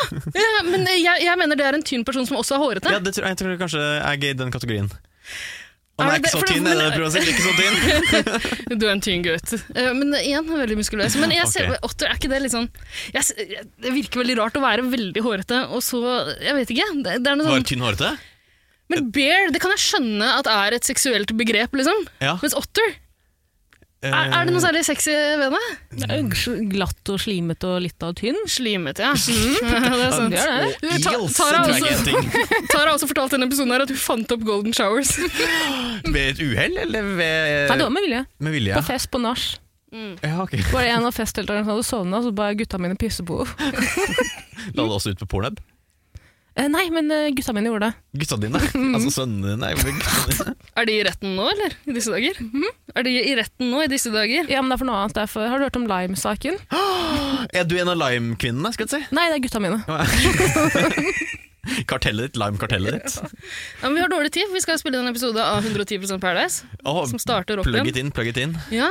Men jeg, jeg mener det er en tynn person som også er hårete. ja det tror, jeg tror kanskje jeg er i den kategorien. Og Er jeg er det- ikke så for det- tynn, er det det jeg prøver å si? Ikke så tynn. Du er en tynn gutt. Eh, Men igjen, han er veldig muskuløs. Men jeg ser, Ok. Otter, er ikke det litt sånn jeg, s- jeg, Det virker veldig rart å være veldig hårete, og så Jeg vet ikke. Det, det er noe Bare sånn, tynn hårete? men bear det kan jeg skjønne at er et seksuelt begrep, liksom. Ja. eh, Mens otter er, er det noe særlig sexy ved det? Det er jo Glatt og slimete og litt av tynn. Slimete, ja. ja. Det er sant. Det er det. Og eels Ta- tror Tara jeg ikke er en ting. Tara har også fortalt i denne episoden her at hun fant opp golden showers. Ved et uhell, eller Nei, det ved var med vilje. Med vilje? På fest på nach. Ja, ok. Var det en av festdeltakerne som hadde sovna, så ba jeg gutta mine pisse på henne. La det også ut på pornhub? Eh, Nei, men eh, gutta mine gjorde det. Gutta dine? Altså sønnene dine? er jo gutta dine. Er de i retten nå, eller? I disse dager? Er de i retten nå, i disse dager? Ja, men det er for noe annet. Derfor. Har du hørt om Lime-saken? Er du en av Lime-kvinnene, skal jeg si? Nei, det er gutta mine. Kartellet ditt, Lime-kartellet ditt. Ja, men vi har dårlig tid, for vi skal spille en episode av 110 Paradise. Åh, Som starter opp plug igjen. Um, it in, plug it in. Ja,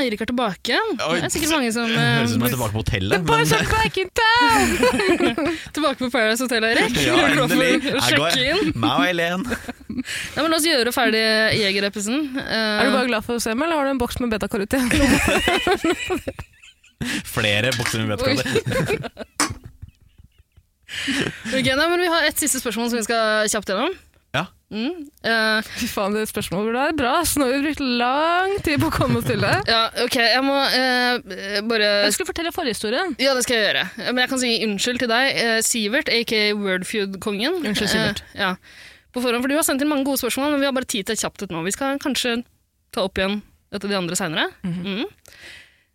Eirik er tilbake igjen. Mm. Oi. Det er sikkert mange som eh, Høres ut som jeg er tilbake på hotellet. sånn Men Boys are back in town! tilbake på Paradise Hotel, Eirik. ja, Er du klar for endelig. å Jeg går. sjekke inn? Meg og Helen. Nei, men La oss gjøre ferdig Jeger-episoden. Eh, Er du bare glad for å se meg, eller har du en boks med betakaroten? Flere bokser med vedkommende. ok, nei, men Vi har et siste spørsmål som vi skal kjapt gjennom. Ja. Mm. eh, Fy faen, det spørsmålet der er bra. Så nå har vi brukt lang tid på å komme oss til det. ja, ok, jeg må eh, bare Jeg skulle fortelle forhistorien. Ja, det skal jeg gjøre. Eh, Men jeg kan si unnskyld til deg, eh, Sivert, aka Wordfeud-kongen. Unnskyld, Sivert. Eh, ja. På forhånd, for Du har sendt inn mange gode spørsmål, men vi har bare tid til et kjapt et nå. Vi skal kanskje ta opp igjen et av de andre seinere. Mhm.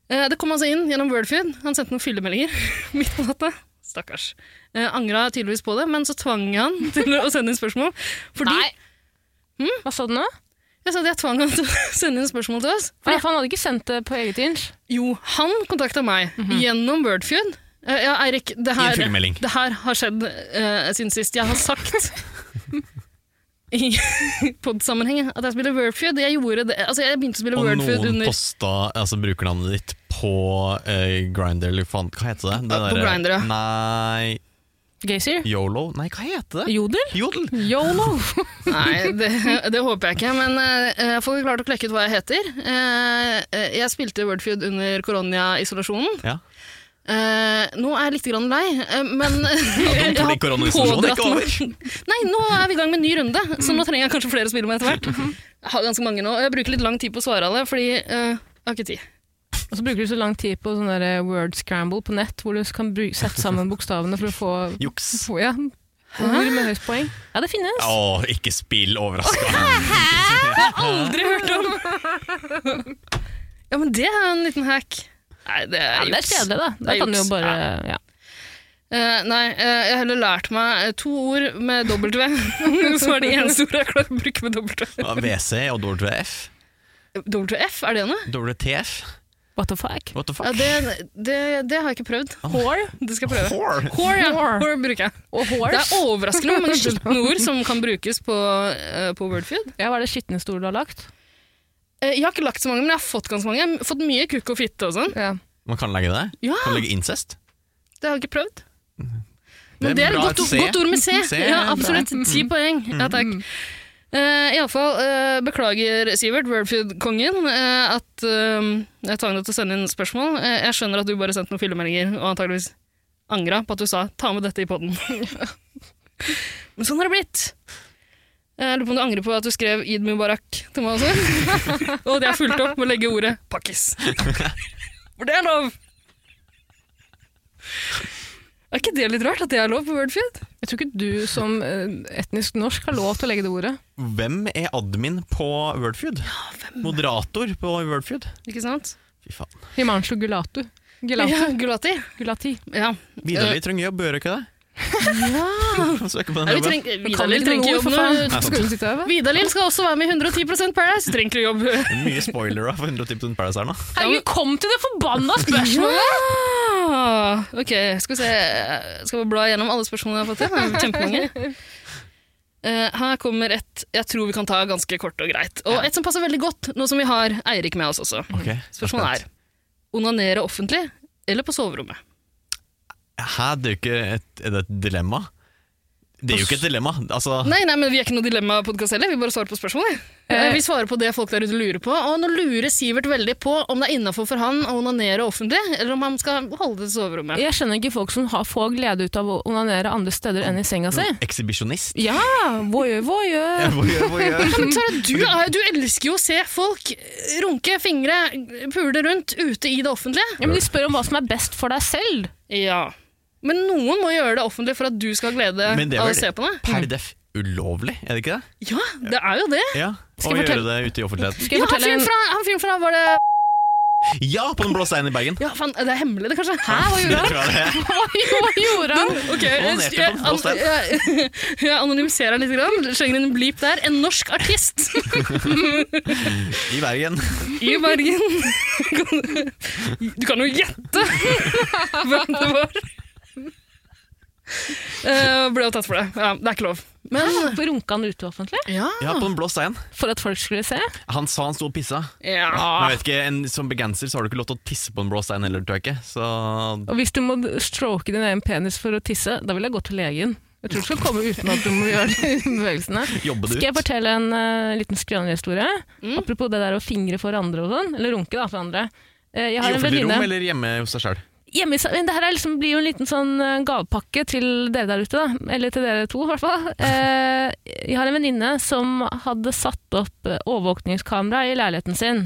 Det kom altså inn gjennom Wordfeud. Han sendte noen fyllemeldinger midt på natta. Stakkars. Eh, Angra tydeligvis på det, men så tvang jeg han til å sende inn spørsmål. Fordi Nei. Hva sa du nå? Jeg sa at jeg tvang han til å sende inn spørsmål til oss. For Han hadde ikke sendt det på eget inch. Jo, han kontakta meg gjennom Wordfeud. Eh, ja, Eirik, det Mhm. I en her, fyllemelding. det her har skjedd eh, siden sist. Jeg har sagt i podsammenheng at jeg spiller Wordfeud. Jeg, gjorde det, altså, jeg begynte å spille Og Wordfeud noen under posta altså, brukernavnet ditt på eh, Grindr, eller faen, hva heter det? det Ja, på derre- Grindr, ja. Nei, Gaysir? Yolo? Nei, hva heter det? Jodel? Jodel? Yolo! Nei, det, det håper jeg ikke, men eh, jeg får klart å klekke ut hva jeg heter. Eh, eh, jeg spilte Wordfeud under koronaisolasjonen. Ja. Eh, nå er jeg litt grann lei, eh, men jeg har fordi koronaisolasjonen er ikke pådratt meg- Nei, nå er vi i gang med en ny runde, så nå trenger jeg kanskje flere å spille med etter hvert. Jeg har ganske mange nå, og jeg bruker litt lang tid på å svare alle, fordi eh, jeg har ikke tid. Og så bruker du så lang tid på sånn der word scramble på nett, hvor du kan bru- sette sammen bokstavene for å få, Juks. få ja. ord med høyest poeng. Ja, det finnes. Å, ikke spill overraska. Aldri hørt om! Ja, men det er en liten hack. Nei, det Ja, er men det er juks. kjedelig, da. Da Det er kan du jo juks. bare ja. Eh, nei, eh, jeg har heller lært meg eh, to ord med W, som er de eneste ordene jeg klarer å bruke med W. WC og WF. WF, er det noe? WTF? What the fuck? What the fuck? Ja, det, det, det har jeg ikke prøvd. Whore Det skal jeg prøve. Whore? Hår, ja. Whore. Ah. Hår bruker jeg. og Det horse. er overraskende hvor mange skitne ord som kan brukes på, eh, på Wordfeud. Ja, hva er det skitneste ordet du har lagt? Eh, jeg har ikke lagt så mange, men jeg har fått ganske mange. Jeg har fått mye kukk og fitte og sånn. Ja. Man kan legge det? Ja, Kan legge incest? det har jeg ikke prøvd. Men er det er et bra godt, å se. godt ord med C. Se, Ja, bra. Mm. absolutt. Ti poeng. Ja, takk. Uh, Iallfall, uh, beklager Sivert, Wordfeed-kongen, eh, at eh, jeg tvang deg til å sende inn spørsmål. Eh, jeg skjønner at du bare sendte noen fyllemeldinger, og antageligvis angra på at du sa 'ta med dette i podden'. Men sånn har det blitt. Eh, Jeg lurer på om du angrer på at du skrev 'Id Mubarak' til meg også. og det er fulgt opp med å legge ordet 'pakkis'. For det er lov! Er ikke det litt rart at det er lov på Wordfeed? Jeg tror ikke du som eh, etnisk norsk har lov til å legge det ordet. Hvem er admin på Wordfeud? Moderator på Wordfeud? Ikke sant? Fy faen. Himanshu Gulatu. Gulatu. Ja, Gulati. Gulati. Ja. Vidar-Lill trenger jobb, gjør hun ikke det? Ja. Søker på den Nei, vi jobben. trenger- Men kan ikke Vidar-Lill noe trenger ord, jobb for nå. faen. Skal hun sitte her, hva? Vidar-Lill skal også være med i 110 Paradise. Trenger ikke jobb. Mye spoilere for 110 Paradise her nå. Herregud, kom til det forbanna spørsmålet! Ah, ok, skal vi se. Jeg Skal vi bla gjennom alle spørsmålene jeg har fått inn? Det er Kjempemange. Eh, her kommer et jeg tror vi kan ta ganske kort og greit. Og et som passer veldig godt, nå som vi har Eirik med oss også. Ok, Spørsmålet er onanere offentlig eller på soverommet? Hæ, det er jo ikke et, er det et dilemma. Det er jo ikke et dilemma. Altså, Nei, nei, men vi er ikke noe dilemma-podkast heller. Vi bare svarer på spørsmålet. Eh. Vi svarer på det folk der ute lurer på. Og nå lurer Sivert veldig på om det er innafor for han å onanere offentlig, eller om han skal holde det til soverommet. Jeg skjønner ikke folk som har, får glede ut av å onanere andre steder enn i senga si. Ekshibisjonist. Ja, voyeur, voyeur. Hvor gjør- hvor gjør- Men Tara, du, er- du elsker jo å se folk runke fingre, pule rundt ute i det offentlige. Ja, men de spør om hva som er best for deg selv. Ja. Men noen må gjøre det offentlig for at du skal ha glede Men det er av å vel- se på det. Per def ulovlig, er det ikke det? Ja, det er jo det. Ja, Skal jeg Å gjøre fortelle- det ute i offentligheten. Skal jeg Ja, han fortelle fyren en fra, han fyren fra Var det Ja, på den blå steinen i Bergen! Ja, faen, det er hemmelig, det, kanskje? Hæ, hva gjorde han? Det tror jeg det er. Hva hva gjorde han? Ok, jeg, ned jeg, til Tom Foster. jeg, jeg anonymiserer litt, grann. slenger en bleep der. En norsk artist I Bergen. i Bergen. Du kan jo gjette hvem det var. Eh, ble jo tatt for det. Ja, det er ikke lov. Men runka han ute offentlig? Ja, på den blå steinen. For at folk skulle se? Han sa han sto og pissa. Ah. Men Ja. jeg vet ikke, en, Som begenser så har du ikke lov til å tisse på en blå stein heller, tror jeg ikke. Så Og hvis du må stroke din egen penis for å tisse, da vil jeg gå til legen. Jeg tror du skal komme uten at du må gjøre de bevegelsene. jobbe det Skal jeg ut. fortelle en eh, liten skrønehistorie? Apropos det der å fingre for andre og sånn, eller runke da for andre. Eh, jeg I har en offentlig rom venninne eller hjemme hos deg sjøl? hjemme i sa- men Det her er liksom, blir jo en liten sånn eh, gavepakke til dere der ute, da. Eller til dere to, i hvert fall. Eh, jeg har en venninne som hadde satt opp eh, overvåkningskamera i leiligheten sin,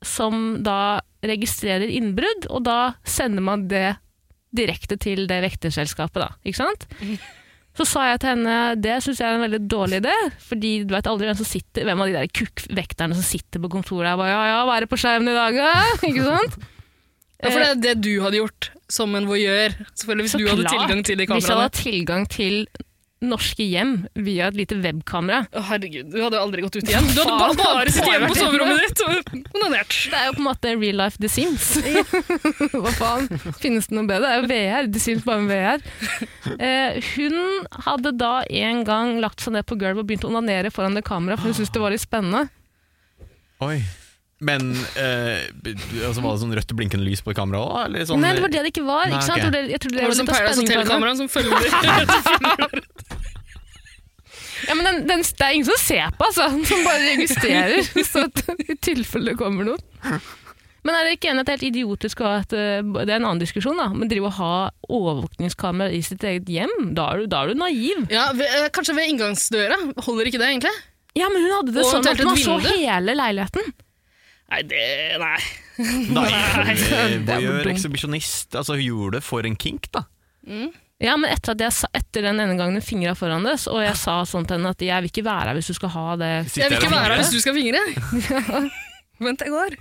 som da registrerer innbrudd, og da sender man det direkte til det vekterselskapet, da. Ikke sant? Så sa jeg til henne det syns jeg er en veldig dårlig idé, fordi du veit aldri hvem, som sitter, hvem av de der kukkvekterne som sitter på kontoret og bare ja ja, hva er det på skjermen i dag, da? Ikke sant? Ja, for det er det du hadde gjort som en voyeur. Selvfølgelig hvis Så du hadde klart. tilgang til de Hvis jeg hadde kameraene. hatt tilgang til norske hjem via et lite webkamera Å, herregud, du hadde jo aldri gått ut igjen. Du hadde Faen, bare, bare sittet hjemme på faen. soverommet ditt og onanert. Det er jo på en måte real life The Sims. Hva faen? Finnes det noe bedre? Det er jo VR. The Sims bare med VR. Eh, hun hadde da en gang lagt seg ned på gulvet og begynt å onanere foran det kameraet, for hun syntes det var litt spennende. Oi. Men eh, b- altså, var det sånn rødt blinkende lys på kameraet òg, eller sånn? Nei, det var det det ikke var. Nei, Ikke sant? Jeg tror ok. det- Jeg trodde det var Det var som litt av Paradise spenning på det. Hotel-kameraene som følger Ja, men den, den, det er ingen som ser på, altså. Som bare registrerer, så at, i tilfelle det kommer noen. Men er dere ikke enig at det er helt idiotisk å ha et eh, Det er en annen diskusjon, da. Men drive og ha overvåkningskamera i sitt eget hjem, da er du, da er du naiv. Ja, ved, eh, Kanskje ved inngangsdøra. Holder ikke det, egentlig? Ja, men hun hadde det Og sånn at eventuelt et man så vindu. hele leiligheten. Nei, det Nei. Nei, eh, det er jo Voyeur, dumt. ekshibisjonist Altså, hun gjorde det for en kink, da. Ja, men etter, at jeg, sa- etter den ene gangen fingra foran det, og jeg sa sånn til henne at jeg vil ikke være her hvis du skal ha det Jeg Sitter vil her ikke og være her fingrer. hvis du skal fingre. Vent, jeg går.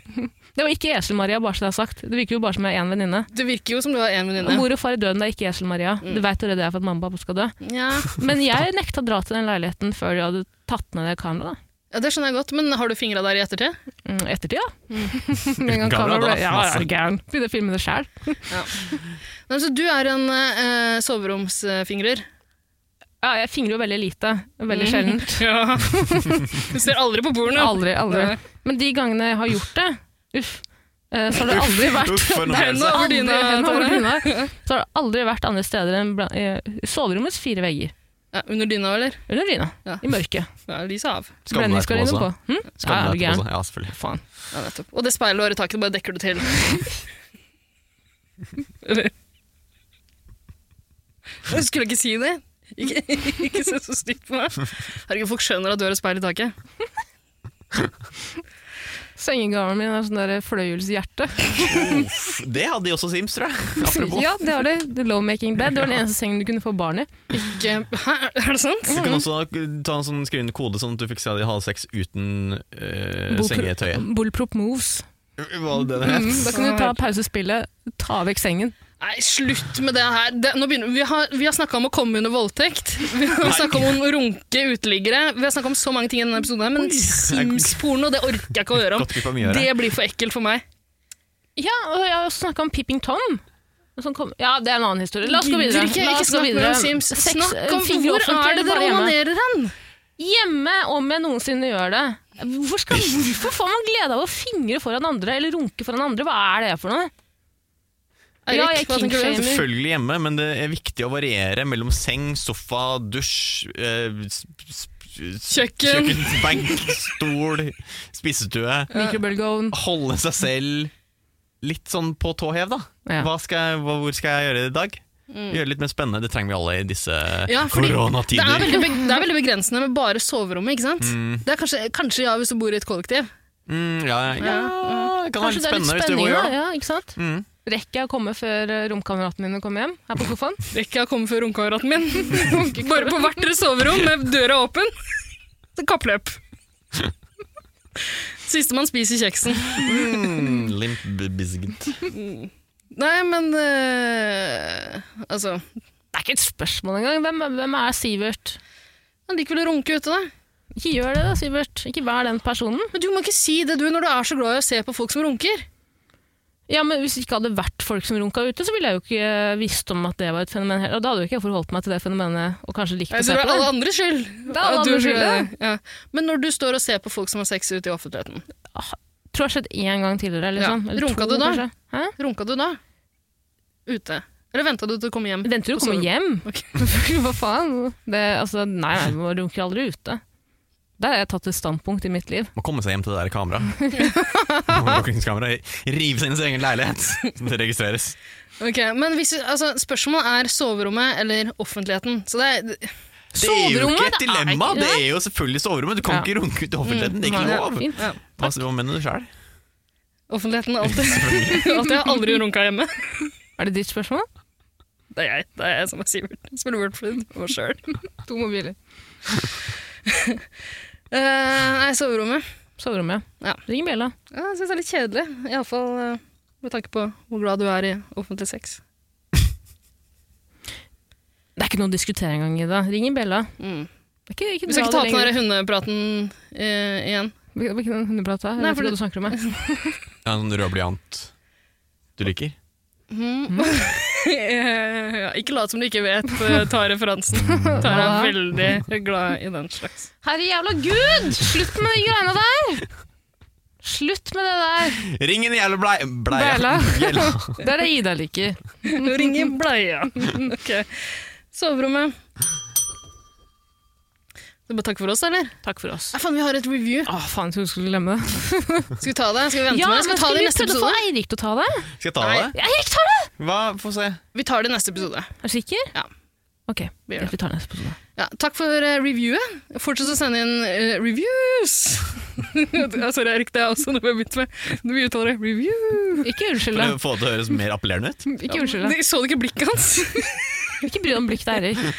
Det var ikke Esel-Maria, bare så det er sagt. Det virker jo bare som jeg er én venninne. Det virker jo som du har én Og venninne. mor og far i døden, det er ikke Esel-Maria. Du veit hvor redd jeg er for at mamma og pappa skal dø. Ja. Men jeg nekta å dra til den leiligheten før de hadde tatt ned det kameraet. da. ja, Det skjønner jeg godt, men har du fingra der i ettertid? Mm, ettertid, ja. Med en gang Kamera, kameraet ble da. ja, ja, er du gæren. Begynte å filme det sjæl. Nei, så du er en eh, soveromsfingrer. Ja, jeg fingrer jo veldig lite. Veldig sjeldent. Ja. Du ser aldri på porno. Aldri, aldri. Nei. Men de gangene jeg har gjort det, uff, eh, så har det aldri vært Uff, for en Det er opplevelse. noe over Aldri, dyna. hendene over Tara. dyna. Så har det aldri vært andre steder enn bla- eh, soverommets fire vegger. Ja, under dyna, eller? Under dyna. Ja. I mørket. Ja, lyset er av. Skammer deg etterpå Blendingsgardinen på. også. Hm? Ja, Skammer er deg du etterpå gæren? også. sånn? Ja, selvfølgelig. Faen. Ja, nettopp. Og det speilet du har i taket, bare dekker du til. Eller? Jeg skulle ikke si det. Ikke, ikke se så stygt på meg. Herregud, folk skjønner at du har et speil i taket. Sengegaven min er sånn der fløyelshjerte. Uff, Det hadde de også Sims, tror jeg. Apropos. ja, det har du. The low making bed. Det var den eneste sengen du kunne få barn i. Eh, Ikke, hæ, er det sant? Du kan også ta en sånn skrivende kode, sånn at du fikk se de halv seks uten eh, Bullpro- sengetøyet. Bullprop moves. Hva var det det het? Mm, da kunne du ta pausespillet, ta vekk sengen. Nei, slutt med det her. Det, nå begynner, vi har, vi har snakka om å komme under voldtekt. Vi har snakka om å runke uteliggere. Vi har snakka om så mange ting i denne episoden, her, men Sims-porno det orker jeg ikke å høre om. Godt vi får mye å gjøre. Det blir for ekkelt for meg. Ja, og jeg har også snakka om Pipping Tom. Som kom, ja, det er en annen historie. La oss gå videre. Ikke, La ikke oss gå snakk mer videre. eh, om Sims. Sex- Snakk om fingre hvor offentlig, er det bare dere hjemme. onanerer hen? Hjemme, om jeg noensinne gjør det. Hvorfor, skal, hvorfor får man glede av å fingre foran andre, eller runke foran andre? Hva er det for noe? Ja, jeg Eirik, hva tenker kinkshamer. du? Selvfølgelig hjemme, men det er viktig å variere mellom seng, sofa, dusj eh, s- s- s- Kjøkken. Benk, stol, spisestue. Eh, Mikrobølgeovn. Holde seg selv litt sånn på tå hev, da. Ja. Hva skal jeg, hva, hvor skal jeg gjøre det i dag? Gjøre det litt mer spennende. Det trenger vi alle i disse Ja, fordi Det er, koronatider. veldig, beg- det er veldig begrensende med bare soverommet, ikke sant? Det er kanskje, kanskje ja, hvis du bor i et kollektiv. Mm, ja, ja, ja, det kan Kanskje være det litt er litt spennende hvis du spenning, går da. gjør det. Ja, ikke sant? Mm. Rekker jeg å komme før eh, romkameraten min kommer hjem? Her på sofaen? Rekker jeg å komme før runkekameraten min? Bare på hvert deres soverom med døra åpen. Så Kappløp. Siste man spiser kjeksen. Mm, limp bizget. Nei, men eh, Altså, Det er ikke et spørsmål engang. Hvem, hvem er Sivert? han liker vel å runke ute, da. Ikke gjør det, da, Sivert. Ikke vær den personen. Men du må ikke si det, du, når du er så glad i å se på folk som runker. Ja, men Hvis det ikke hadde vært folk som runka ute, så ville jeg jo ikke visst om at det var et fenomen. heller. Og Da hadde jo ikke jeg forholdt meg til det fenomenet og kanskje likt å Jeg se tror det på er alle det. andres skyld. er alle At du- eh, andres skyld, ja. ja. Men når du står og ser på folk som har sex ute i offentligheten, Tror jeg har skjedd én gang tidligere. Eller Ja. sånn. Eller Runka to, du da? kanskje. Hæ? runka du da? Ute. Eller venta du til å komme hjem? Venter du å Og så- komme hjem? Ok. Hva faen? Det, altså, nei, nei, man runker aldri ute. Der har jeg tatt et standpunkt i mitt liv. Må komme seg hjem til det der kameraet. Overvåkingskamera. Rive seg inn i sin egen leilighet. Det registreres. Ok, men hvis, altså, Spørsmålet er soverommet eller offentligheten. Så det er, Det er jo ikke Soverommet, et det er- dilemma! Det ja. er jo selvfølgelig soverommet. Du kan Ja. ikke runke ut i offentligheten. Det er Nei, ikke lov! fint. ja, Hva hva mener du sjøl? offentligheten er alltid Alltid har aldri runka hjemme. Er det ditt spørsmål? Det er jeg det er jeg som er Sivert. Spiller Wordflid for meg sjøl. To mobiler. Eh, nei, soverommet. Soverommet. Ja. Ring bjella. Ja, jeg syns det er litt kjedelig. Iallfall uh, med tanke på hvor glad du er i offentlig sex. Det er ikke noe å diskutere engang, Ida. Ring i bjella. Mm. Det er ikke, ikke Vi skal ikke bra det ta opp den lenger. der hundepraten eh, igjen. Vi- vi kan hundeprat her. Jeg Nei, vet ikke hva for det- du snakker om. jeg. Ja, en rød blyant du liker? Mm. Eh, ja, ikke lat som du ikke vet, eh, ta referansen. Tara er veldig glad i den slags. Herre jævla gud! Slutt med de greiene der! Slutt med det der! Ring en jævla blei... Bleia. Bjella. Bjella. Det er det Ida liker. Ring i bleia. Ok. Soverommet. Det er bare takk for oss, eller? Takk for oss. Nei, faen, vi har et review. Å, faen, jeg trodde du skulle glemme det. Skal vi ta det? Skal vi vente Ja, med men det? Skal vi ta det i neste prøvde å få episode? Eirik til å ta det? Skal jeg ta Nei. det? Eirik tar det! Hva? Få se. Vi tar det i neste episode. Er du sikker? Ja. Ok, Vi gjør det. vi tar neste episode. Ja, takk for eh, reviewet. Fortsett å sende inn eh, reviews! ja, sorry, Erik, det er også noe vi har begynt med. Vi uttaler det. Review! Ikke unnskyld For deg. å få det til å høres mer appellerende ut. Ikke unnskyld deg. Det- Så du ikke blikket hans? Ikke bry deg om blikket til Eirik.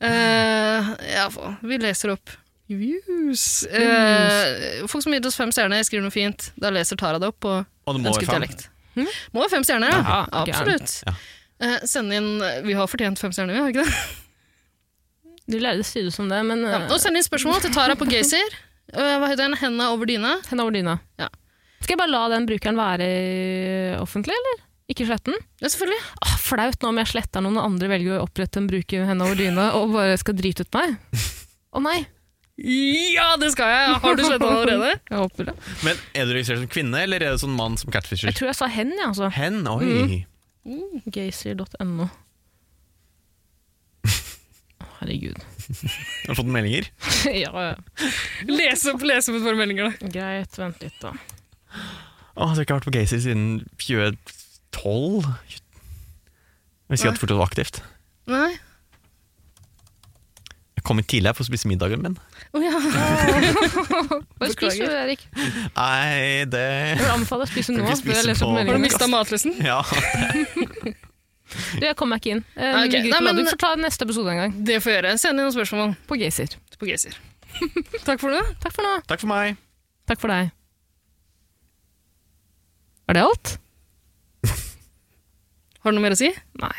Eh, ja, faen. vi leser opp reviews. Eh, folk som gir oss fem stjerner, skriver noe fint. Da leser Tara det opp på Og det må ønsket være fem. dialekt. Må ha fem stjerner, ja. Hm? Ja, gæren. Absolutt. Ja. Eh, send inn Vi har fortjent fem stjerner, vi har ikke det? Du lærte å si det som det, men Ja. uh, Og send inn spørsmål til Tara på Gaysir. Eh, hva heter den? Henda over dyna. henne over dyna. Ja. Skal jeg bare la den brukeren være eh, offentlig, eller? Ikke slette den? Ja, selvfølgelig. Åh, Ah, flaut nå om jeg sletter noen og andre velger å opprette en bruker henne over dyna og bare skal drite ut meg. Å nei. Ja, det skal jeg! Har du sletta den allerede? Jeg håper det. Men er du registrert som kvinne, eller er du sånn mann som Jeg catfisher? tror jeg sa hen, jeg, altså. Hen? Oi. Gaysir.no. Herregud. Har du fått meldinger? ja, ja. Les opp, les opp et par meldinger, da. greit. Vent litt, da. Åh, så har altså, jeg ikke vært på Gacy siden 2012. Hvis ikke jeg hadde fortsatt var aktivt. Nei? Jeg kom litt tidlig her for å spise middagen min. Å ja. Bare spis, Beklager. Erik. Nei, det Jeg vil anbefale deg å spise nå. Ikke før spise jeg leser opp på- Har du meldingen. mista matlysten? Ja. Du, jeg kommer meg ikke inn. Eh, Ah, Ok, ligger nei, ikke på men- radio. Vi får ta neste episode en gang. Det får jeg gjøre. Send inn noen spørsmål På Gaysir. på Gaysir. Takk for nå. Takk for nå. Takk for meg. Takk for deg. Er det alt? Har du noe mer å si? Nei.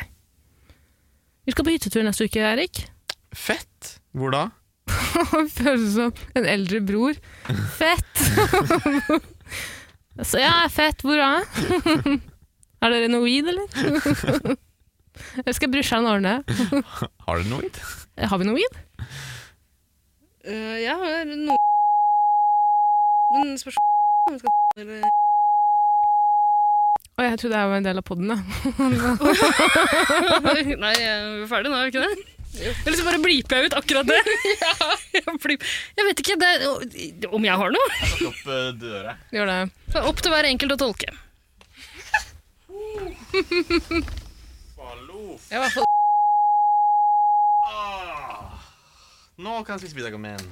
Vi skal på hyttetur neste uke, Erik. Fett. Hvor da? Han føles som en eldre bror. Fett! Så ja, fett. Hvor er jeg? Er dere noe weed, eller? Jeg skal brysjeren ordne. Har dere noe hit? Har vi noe weed? Eh, jeg har noe Men spørsmål Å, jeg trodde jeg var en del av podden, da. Nei, vi er ferdig nå, er vi ikke det? Eller så bare bliper jeg ut akkurat det. Jeg blip- jeg vet ikke det er, om jeg har noe. Opp eh, døra. Gjør det. Det er opp til hver enkelt å tolke. Nå Ah, kan jeg spise middagen min.